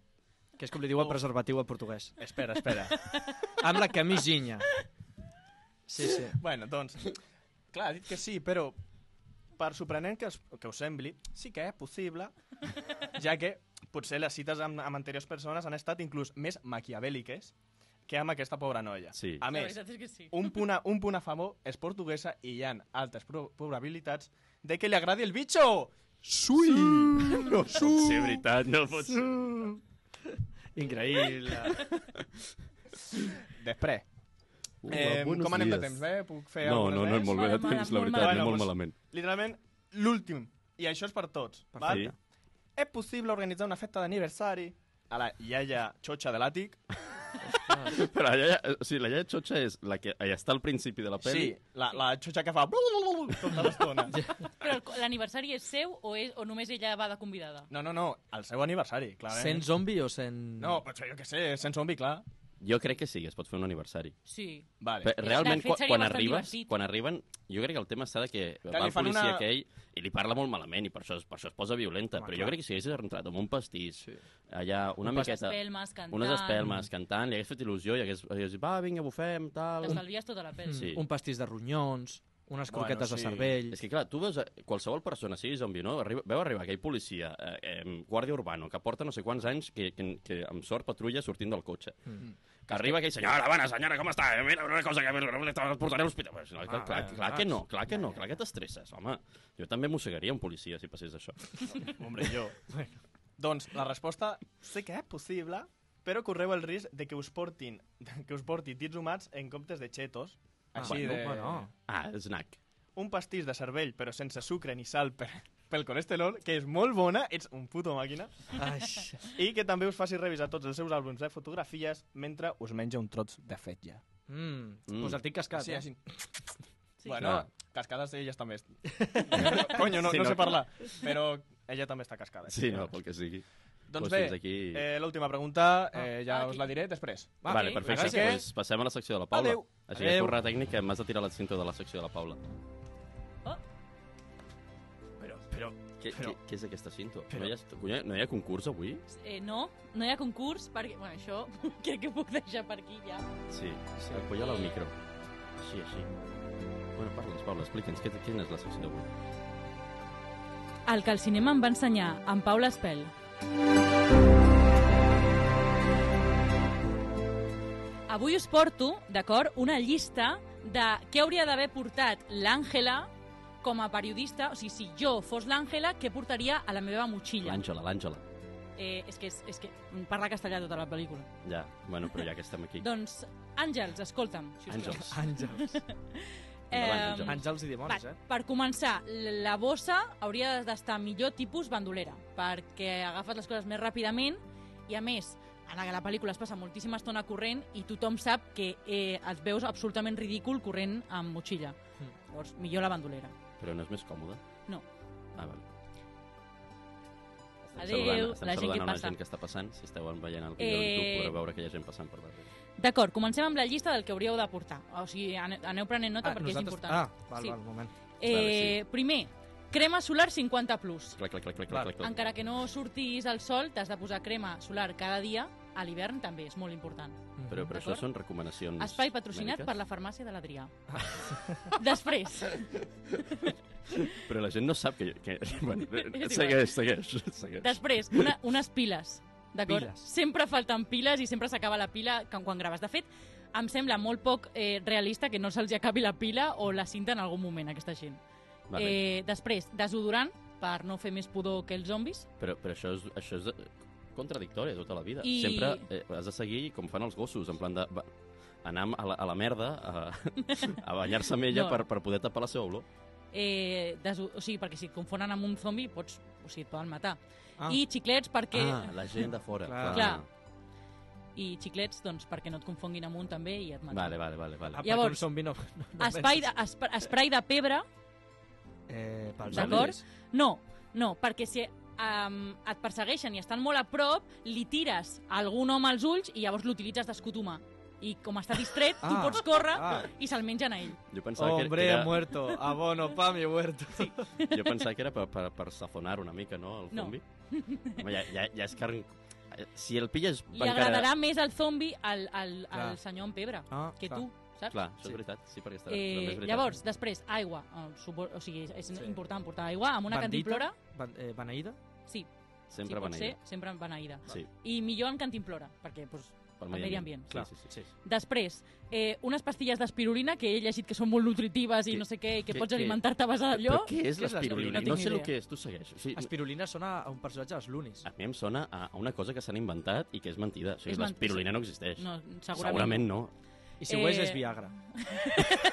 C: Que és com li diu el
H: Oh.
C: preservatiu al portuguès.
H: Espera, espera.
C: Amb la camisinha. Sí, sí.
H: Bueno, doncs, clar, ha dit que sí, però per sorprenent que, es, que us sembli, sí que és possible, ja que potser les cites amb, amb anteriors persones han estat inclús més maquiavèliques que amb aquesta pobra noia.
A: Sí.
H: A
E: La
H: més,
E: veritat és que sí.
H: un punt a, un punt a favor és portuguesa i hi ha altes pro probabilitats de que li agradi el bitxo! Sui! No
A: Pot ser veritat, no pot ser.
C: Increïble.
H: Després. Eh,
D: buenos
H: com anem de
D: días.
H: temps, bé? Puc fer
A: No,
H: algunes
A: no, no
H: més?
A: és molt bé de
E: Molt
A: temps, la
E: malament,
A: veritat,
H: molt
A: anem molt malament.
H: malament. Literalment, l'últim. I això és per tots. Val?
A: Perfecte.
H: És possible organitzar una festa d'aniversari a la iaia xotxa de l'àtic?
A: Però la iaia, o sigui, la iaia xotxa és la que allà està al principi de la pel·li.
H: Sí, la, la xotxa que fa... Tota l'estona.
E: Però el- l'aniversari és seu o, és, o només ella va de convidada?
H: No, no, no, el seu aniversari, clarament.
C: Sent zombi o sent...
H: No, però jo què sé, sent zombi, clar.
A: Jo crec que sí, que es pot fer un aniversari.
E: Sí.
H: Vale.
A: Però realment,
E: fet,
A: quan,
E: seria
A: quan
E: bastant
A: arribes,
E: divertit.
A: quan arriben, jo crec que el tema està de que va
H: li
A: el
H: fan
A: policia una...
H: una-
A: aquell i li parla molt malament i per això, es- per això es posa violenta.
H: Home,
A: però
H: clar.
A: jo crec que si hagués entrat amb un pastís, sí. allà una
E: Unes
A: miqueta...
E: espelmes, cantant.
A: Unes espelmes, cantant, li hagués fet il·lusió i hagués, hagués dit, va, vinga, bufem, tal...
E: T'estalvies tota la pel·li.
A: Sí.
C: Un pastís de ronyons, unes
H: Bueno,
C: croquetes
H: sí.
C: de cervell...
A: És que, clar, tu veus a- qualsevol persona, sigui zombi o no, arriba, veu arribar aquell policia, eh, eh, guàrdia urbano, que porta no sé quants anys, que, que, que amb sort patrulla sortint del cotxe.
H: Mm-hmm.
A: Mm. Que arriba aquell senyora, bona senyora, com està? Eh, Mira, una cosa que us portaré a l'hospital. Pues, no, clar,
H: Ah,
A: clar, clar, que no, clar que no, clar que t'estresses, home. Jo també mossegaria un policia si passés això.
H: Hombre, jo. bueno. Doncs la resposta sé que és possible, però correu el risc de que us portin que us porti dits humans en comptes de xetos. Així
C: bueno,
H: de...
C: bueno.
A: Ah, snack.
H: Un pastís de cervell, però sense sucre ni sal per, pel colesterol, que és molt bona, ets un puto màquina,
C: Ai,
H: i que també us faci revisar tots els seus àlbums de fotografies mentre us menja un trots de fetge.
C: mm.
A: Mm.
C: Pues el tinc cascat,
H: Sí,
C: eh?
H: així.
E: Sí.
H: Bueno,
A: Clar.
H: cascades ella també és... Coño, no,
A: Sí,
H: no,
A: no, clar.
H: sé parlar, però ella també està cascada.
A: Sí, no, pel que sigui.
H: Doncs
A: Doncs
H: bé,
A: fins aquí...
H: eh, l'última pregunta eh,
E: Ah,
H: ja us
E: aquí.
H: la diré després.
A: Va, vale,
E: ok,
A: perfecte.
H: gràcies.
A: Pues passem a la secció de la Paula.
H: Adéu.
A: Així que
H: Adéu.
A: corre tècnic, que m'has de tirar la cinta de la secció de la Paula.
E: Oh.
A: Però, però... Què, què,
H: però-
A: què és aquesta cinta? No, hi ha, conya, no hi ha concurs avui?
E: Eh, no, no hi ha concurs, perquè... Bueno, això crec que puc deixar per aquí ja.
A: Sí, sí. apoya-la al micro. Així, així. Bueno, parla'ns, Paula, explica'ns, què- quina és la secció d'avui?
E: El que al cinema em va ensenyar, en Paula Espel. Avui us porto, d'acord, una llista de què hauria d'haver portat l'Àngela com a periodista, o sigui, si jo fos l'Àngela, què portaria a la meva motxilla?
A: L'Àngela, l'Àngela.
E: Eh, és, que, és, és que parla castellà tota la pel·lícula.
A: Ja, bueno, però ja que estem aquí.
E: Doncs, Àngels, escolta'm, si us plau.
A: Àngels.
C: Àngels.
A: Endavant, Àngels.
C: Àngels i dimonis,
E: Va,
C: eh?
E: per començar, l- la bossa hauria d'estar millor tipus bandolera, perquè agafes les coses més ràpidament i, a més, en la, la pel·lícula es passa moltíssima estona corrent i tothom sap que eh, et veus absolutament ridícul corrent amb motxilla.
C: Mm.
E: Llavors, millor la bandolera.
A: Però no és més còmode?
E: No.
A: Ah, vale. Estem
E: Adéu,
A: saludant- estem
E: la gent
A: saludant
E: que
A: a una
E: passa.
A: gent que està passant. Si esteu veient el vídeo eh...
E: Eh,
A: YouTube, podreu veure que hi ha gent passant per darrere.
E: D'acord, comencem amb la llista del que hauríeu de portar. O sigui, ane- aneu prenent nota
C: Ah,
E: perquè
C: nosaltres-
E: és important.
C: Ah, val,
E: Sí.
C: val, un moment.
E: eh,
A: Vale,
E: Primer, crema solar 50+. Plus.
A: Clac, clac, clac, clac,
C: Clar.
A: clac, clac.
E: Encara que no sortis al sol, t'has de posar crema solar cada dia. A l'hivern també és molt important.
A: Però,
C: Mhm.
A: però això
E: D'acord?
A: són recomanacions
E: Espai patrocinat per
A: mèdiques?
E: la farmàcia de l'Adrià. Després,
A: Però la gent no sap que... que... Bueno,
E: igual.
A: segueix, segueix, segueix.
E: després una, unes piles, d'acord?
C: Piles.
E: Sempre falten piles i sempre s'acaba la pila quan, quan graves. De fet, em sembla molt poc eh, realista que no se'ls hi acabi la pila o la cinta en algun moment, aquesta gent.
A: Vale.
E: Eh, després, desodorant, per no fer més pudor que els zombis.
A: Però, però això és, això és eh, contradictori tota la vida.
E: I-
A: Sempre eh, has de seguir com fan els gossos, en plan de... Va, anar a la, a la merda, a, a banyar-se amb ella no.
E: No.
A: per, per poder tapar la seva olor.
E: Eh, deso o sigui, perquè si et confonen amb un zombi, pots, o sigui, et poden matar.
C: Ah.
E: I xiclets perquè...
A: Ah, la gent de fora.
C: Clar.
E: I xiclets, doncs, perquè no et confonguin amb un també i et maten.
A: Vale, vale, vale. vale.
C: Ah, perquè
E: Llavors,
C: un zombi no, no, no
E: Espai de,
C: penses.
E: esp esprai de pebre,
C: Eh, pels
E: D'acord?
C: zombis.
E: no, no, perquè si um, et persegueixen i estan molt a prop, li tires a algun home als ulls i llavors l'utilitzes d'escut humà. I com està distret, tu
C: Ah,
E: pots córrer
C: ah.
E: i se'l mengen a ell.
A: Jo pensava,
C: Hombre,
A: que, era,
C: muerto. Abono, pa, mi huerto.
A: jo pensava que era per, per, per safonar una mica, no, el
E: No.
A: zombi? Home, ja, ja, ja és carn... eh, Si el pilles...
E: Li
A: encara-
E: agradarà més al zombi al, al,
C: Clar.
E: al senyor en pebre
C: Ah,
E: que
C: clar.
E: tu, saps?
A: Clar, això
C: Sí.
A: és veritat, sí, perquè està... també és
E: Eh,
A: veritat.
E: llavors, després, aigua. Eh, supo- O sigui, és
C: Sí.
E: sí. important portar aigua amb una
C: Bandita?
E: cantimplora.
C: Ban eh, Beneïda?
E: Sí. si
A: Sempre
E: pot ser,
A: beneïda.
E: sempre beneïda.
A: Sí,
E: I millor en Cantimplora, perquè pues,
A: per
E: El medi ambient.
A: Clar,
C: Clar,
A: sí, sí, sí.
C: sí.
E: Després, eh, unes pastilles d'espirulina, que he llegit que són molt nutritives i
A: Que-
E: no sé què, i que,
A: que-
E: pots
A: que-
E: alimentar-te a base d'allò.
A: Però què és
C: Què és
A: l'espirulina?
E: l'espirulina?
A: No
E: No
A: sé
E: tinc
A: el
E: idea.
A: que és, tu segueix. O sigui,
C: Espirulina sona a un personatge dels Lunis.
A: a mi em sona a a una cosa que s'han inventat i que és mentida. O sigui,
E: És mentida.
A: l'espirulina no existeix.
E: No, segurament.
A: Segurament no.
C: I si ho és,
E: Eh.
C: és Viagra.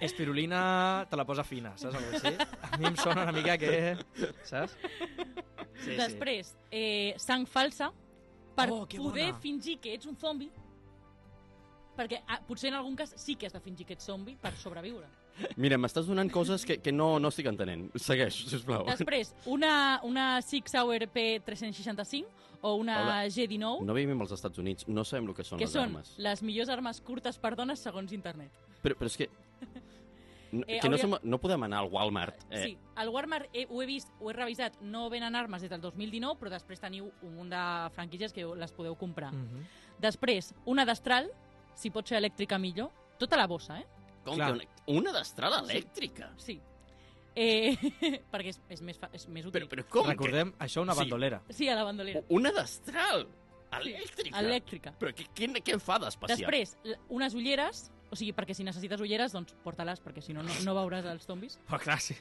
C: Espirulina te la posa fina, saps? Algo així? A mi em sona una mica que... Saps? Sí,
E: Després, eh, sang falsa, per
C: Oh, que
E: poder
C: bona.
E: fingir que ets un zombi, perquè ah, potser en algun cas sí que has de fingir que ets zombi per sobreviure.
A: Mira, m'estàs donant coses que, que no, no estic entenent. Segueix, sisplau.
E: Després, una, una Six Hour P365 o una
A: Hola.
E: GD9,
A: No vivim als Estats Units, no sabem el que són
E: que
A: les
E: són
A: armes.
E: les millors armes curtes per dones segons internet.
A: Però, però és que... No,
E: Eh,
A: que no,
E: hauria-
A: som, no podem anar al Walmart.
E: Eh. Sí, al Walmart he, ho he vist, ho he revisat, no venen armes des del 2019, però després teniu un munt de franquícies que les podeu comprar. Mm.
C: -hmm.
E: Després, una d'astral, si pot ser elèctrica millor, tota la bossa, eh?
A: Com
C: clar.
A: que una, una destral elèctrica?
E: Sí. Eh, perquè és, és, més, fa, és més útil.
A: Però, però com
C: Recordem, això una
A: Sí.
C: bandolera.
E: Sí, a la bandolera.
A: que... Una destral
E: Sí,
A: elèctrica?
E: Elèctrica.
A: Però què, què, què fa d'especial?
E: Després, l- unes ulleres, o sigui, perquè si necessites ulleres, doncs porta-les, perquè si no, no, no veuràs els zombis.
C: Però clar, sí.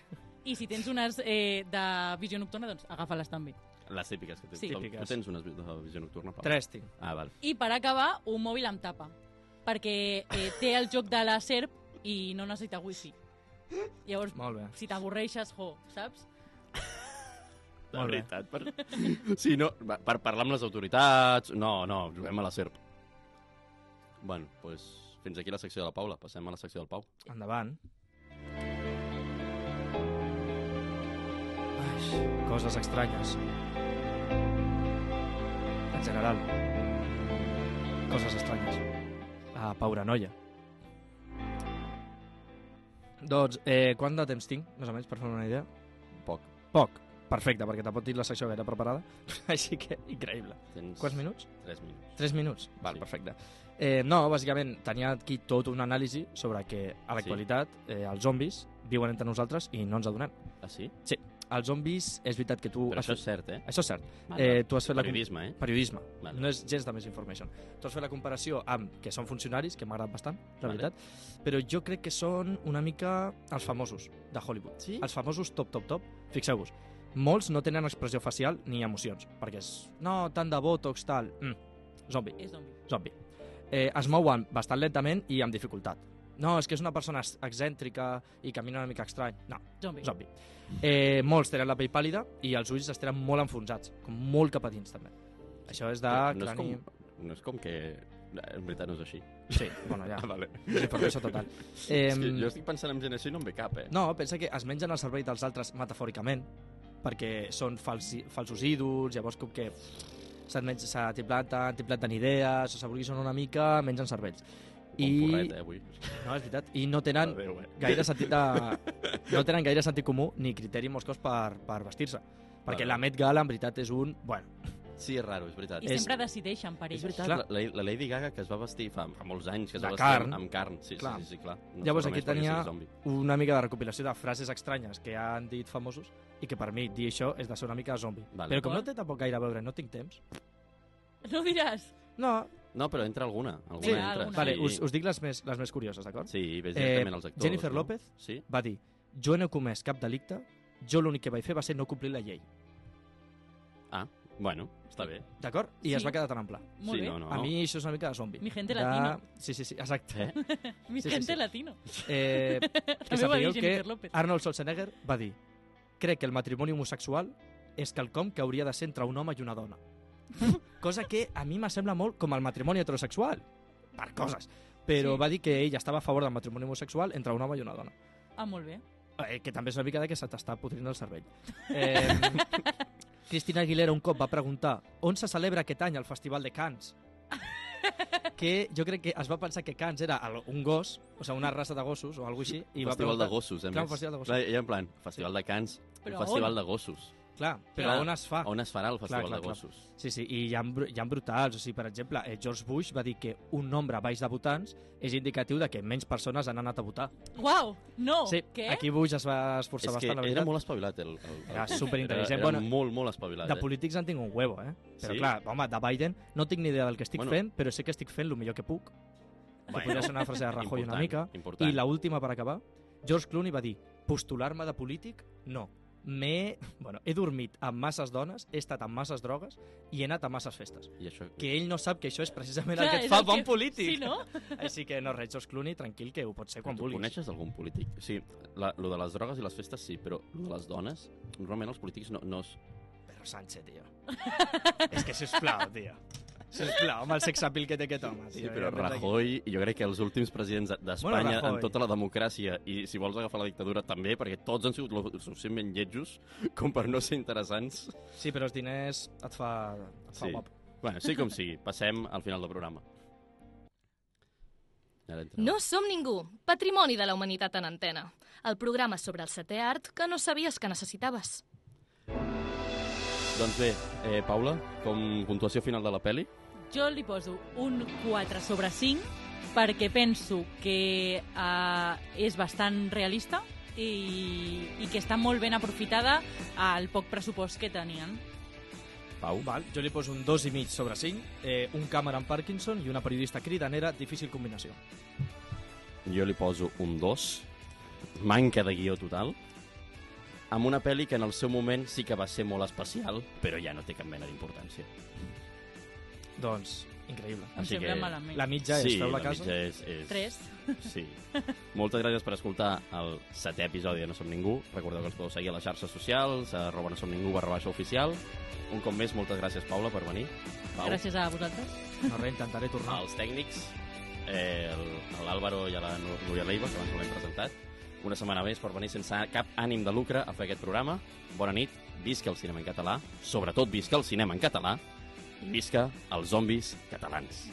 E: I si tens unes eh, de visió nocturna, doncs agafa-les també.
A: Les típiques que tens.
E: Sí.
A: Tu-
C: Típiques.
A: Tu tens una de visió nocturna, Pau?
C: Tres tinc.
A: Ah, val.
E: I per acabar, un mòbil amb tapa, perquè eh, té el joc de la SERP i no necessita wifi. Llavors,
C: Molt bé.
E: si t'avorreixes, jo, saps?
A: De
C: Molt bé.
A: veritat. Per... Sí, no, va, per parlar amb les autoritats... No, no, juguem a la SERP. Bueno, doncs pues, fins aquí la secció de la Paula. Passem a la secció del Pau.
C: Endavant. Ai, coses estranyes. En general. Coses estranyes. A Pauranoia. Doncs, eh, quant de temps tinc, més o menys, per fer una idea?
A: Poc.
C: Poc. Perfecte, perquè tampoc tinc la secció gaire preparada. Així que, increïble.
A: Tens...
C: Quants minuts?
A: 3 minuts.
C: 3 minuts?
A: Sí.
C: Val, sí. perfecte. Eh, no, bàsicament, tenia aquí tot un anàlisi sobre que a l'actualitat eh, els zombis viuen entre nosaltres i no ens adonem.
A: Ah, sí?
C: Uh, Els zombis, és veritat que tu...
A: Però
C: has
A: això
C: fet-
A: és cert, eh?
C: això és cert.
A: Vale,
C: Eh, tu has fet la... com-
A: Periodisme, eh?
C: Periodisme.
A: Vale.
C: No és gens de més information. Tu has fet la comparació amb que són funcionaris, que m'ha agradat bastant, la
A: Vale.
C: veritat, però jo crec que són una mica els famosos de Hollywood.
A: Sí?
C: Els famosos top, top, top. Fixeu-vos, molts no tenen expressió facial ni emocions, perquè és... No, tant de botox, tal... Mm, zombi
E: És zombi.
C: zombi. Eh, es mouen bastant lentament i amb dificultat. No, és que és una persona ex- excèntrica i camina una mica estrany. No,
E: Zombi.
C: zombi. Eh, molts tenen la pell pàl·lida i els ulls es tenen molt enfonsats, com molt cap a dins, també. Això és de
A: no, és
C: crani...
A: com, no és com que... eh, En veritat no és així.
C: Sí, bueno, ja.
A: Ah, vale.
C: Desinformació total. Eh,
A: És que jo estic pensant en gent així i no em ve cap, eh?
C: No, pensa que es mengen el cervell dels altres metafòricament, perquè són falsi, falsos ídols, llavors com que se't menja, se t'implanten, t'implanten idees, o s'avorguixen una mica, mengen cervells.
A: I... Un porret, eh, avui.
C: No, és veritat. I no tenen
A: Adéu, eh?
C: gaire sentit de... no tenen gaire sentit comú ni criteri molts cops per, per vestir-se. Perquè
A: Bueno.
C: la Met Gala, en veritat, és un... Bueno,
A: Sí, és raro, és veritat.
E: I
C: És-
E: sempre decideixen per
A: És
E: ells.
A: veritat, la,
C: Clar.
A: la, la Lady Gaga que es va vestir fa, fa molts anys, que es
C: De
A: va vestir amb-
C: carn.
A: amb carn. Sí,
C: Clar.
A: sí, sí, sí, clar. No
C: Llavors,
A: sé,
C: aquí
A: només perquè
C: tenia-
A: sigui zombi.
C: una mica de recopilació de frases estranyes que han dit famosos i que per mi dir això és de ser una mica zombi.
A: Vale.
C: Però com no té tampoc gaire a veure, no tinc temps.
E: No diràs.
C: No,
A: No, però entra alguna. alguna
E: Vinga,
A: entra.
E: alguna.
C: vale,
A: sí.
C: us, us dic les més, les més curioses, d'acord?
A: Sí, ves
C: Eh,
A: directament als actors.
C: Jennifer
A: no?
C: López?
A: Sí?
C: Va dir, jo no he comès cap delicte, jo l'únic que vaig fer va ser no complir la llei.
A: Bueno, està bé.
C: D'acord? I
E: Sí.
C: es va quedar tan en pla.
E: Molt
A: sí,
E: bé.
A: no, no.
C: A mi això és una mica de zombi.
E: Mi gente
C: de...
E: latina.
C: Sí, sí, sí, exacte.
A: Eh?
E: Mi
C: Sí, sí,
E: gente
C: sí.
E: latino.
C: Eh, que
E: També ho va dir
C: sapigueu
E: Jennifer
C: que
E: López.
C: Arnold Schwarzenegger va dir crec que el matrimoni homosexual és quelcom que hauria de ser entre un home i una dona. Cosa que a mi m'assembla molt com el matrimoni heterosexual, per coses. Però
E: Sí.
C: sí. va dir que ell estava a favor del matrimoni homosexual entre un home i una dona.
E: Ah, molt bé.
C: Eh, que també és una mica de que se t'està podrint el cervell. Eh, Cristina Aguilera un cop va preguntar on se celebra aquest any el Festival de Cants? que jo crec que es va pensar que Cants era el- un gos, o sigui, una raça de gossos o alguna així. I va
A: festival de
C: preguntar-
A: gossos, eh?
C: Clar,
A: més.
C: un festival de gossos.
A: Clar, i en plan, festival de cants,
E: Però
A: un festival
E: on?
A: de gossos.
C: clar, però on es fa?
A: On es farà el Festival
C: Ah. clar,
A: de
C: clar.
A: Gossos?
C: Sí, sí, i hi ha, bru- hi ha brutals. O sigui, per exemple, eh, George Bush va dir que un nombre baix de votants és indicatiu de que menys persones han anat a votar.
E: Uau, no!
C: sí,
E: Oh, Què?
C: aquí Bush es va esforçar
A: És que
C: bastant,
A: era
C: la veritat.
A: molt espavilat. El, el, el...
C: Era superintel·ligent.
A: Era, era
C: Bueno,
A: molt, molt espavilat.
C: De
A: eh?
C: polítics en tinc un huevo, eh? Però
A: Sí?
C: clar, home, de Biden no tinc ni idea del que estic
A: Bueno.
C: bueno. fent, però sé que estic fent el millor que puc. Bueno. Podria ser una frase de Rajoy
A: important,
C: una mica.
A: Important.
C: I la última per acabar, George Clooney va dir postular-me de polític? No. M'he... Bueno, he dormit amb masses dones, he estat amb masses drogues i he anat a masses festes.
A: I això...
C: Que ell no sap que això és precisament
E: Clar,
C: el que
E: és
C: et fa
E: el
C: bon
E: que-
C: polític.
E: Sí, no?
C: Així que no res, George Clooney, tranquil, que ho pot ser quan
A: tu
C: vulguis.
A: coneixes algun polític? Sí, la, lo de les drogues i les festes sí, però lo de les dones, normalment els polítics no, no es...
C: Pedro Sánchez, tio. és que sisplau, tio. Sisplau, amb el sexapil que té aquest home.
A: Sí,
C: tio,
A: però
C: ja em pensa que-
A: Rajoy, jo crec que els últims presidents d'Espanya,
C: Rajoy.
A: en tota la democràcia, i si vols agafar la dictadura també, perquè tots han sigut lo suficientment lletjos com per no ser interessants.
C: Sí, però els diners et fa, et fa
A: Sí.
C: sí. guapo.
A: Bueno, sí com sigui, passem al final del programa. Ara entra-
B: No som ningú, patrimoni de la humanitat en antena. El programa sobre el setè art que no sabies que necessitaves.
A: Doncs bé, eh, Paula, com puntuació final de la peli,
E: Jo li poso un 4 sobre 5 perquè penso que eh, és bastant realista i, i que està molt ben aprofitada al poc pressupost que tenien.
A: Pau,
C: Val, jo li poso un 2 i mig sobre 5, eh, un Cameron Parkinson i una periodista cridanera, difícil combinació.
A: jo li poso un 2, manca de guió total, amb una pel·li que en el seu moment sí que va ser molt especial, però ja no té cap mena d'importància.
C: Doncs, increïble.
E: Em
A: Així
E: sembla
A: que-
E: malament.
C: La mitja és,
A: sí,
C: feu la,
A: la
C: casa.
A: mitja és, és...
E: 3.
A: Sí. Moltes gràcies per escoltar el setè episodi de No Som Ningú. Recordeu que ens podeu seguir a les xarces socials, a arroba no som ningú barra baixa oficial. Un cop més, moltes gràcies, Paula, per venir. Pau,
E: Gràcies a vosaltres.
C: No, res, intentaré tornar.
A: als tècnics, eh, el- a l'Àlvaro i a la Nú- Núria Leiva, que abans no l'hem presentat. Una setmana més per venir sense cap ànim de lucre a fer aquest programa. Bona nit, visca el cinema en català, sobretot visca el cinema en català, i visca els zombis catalans.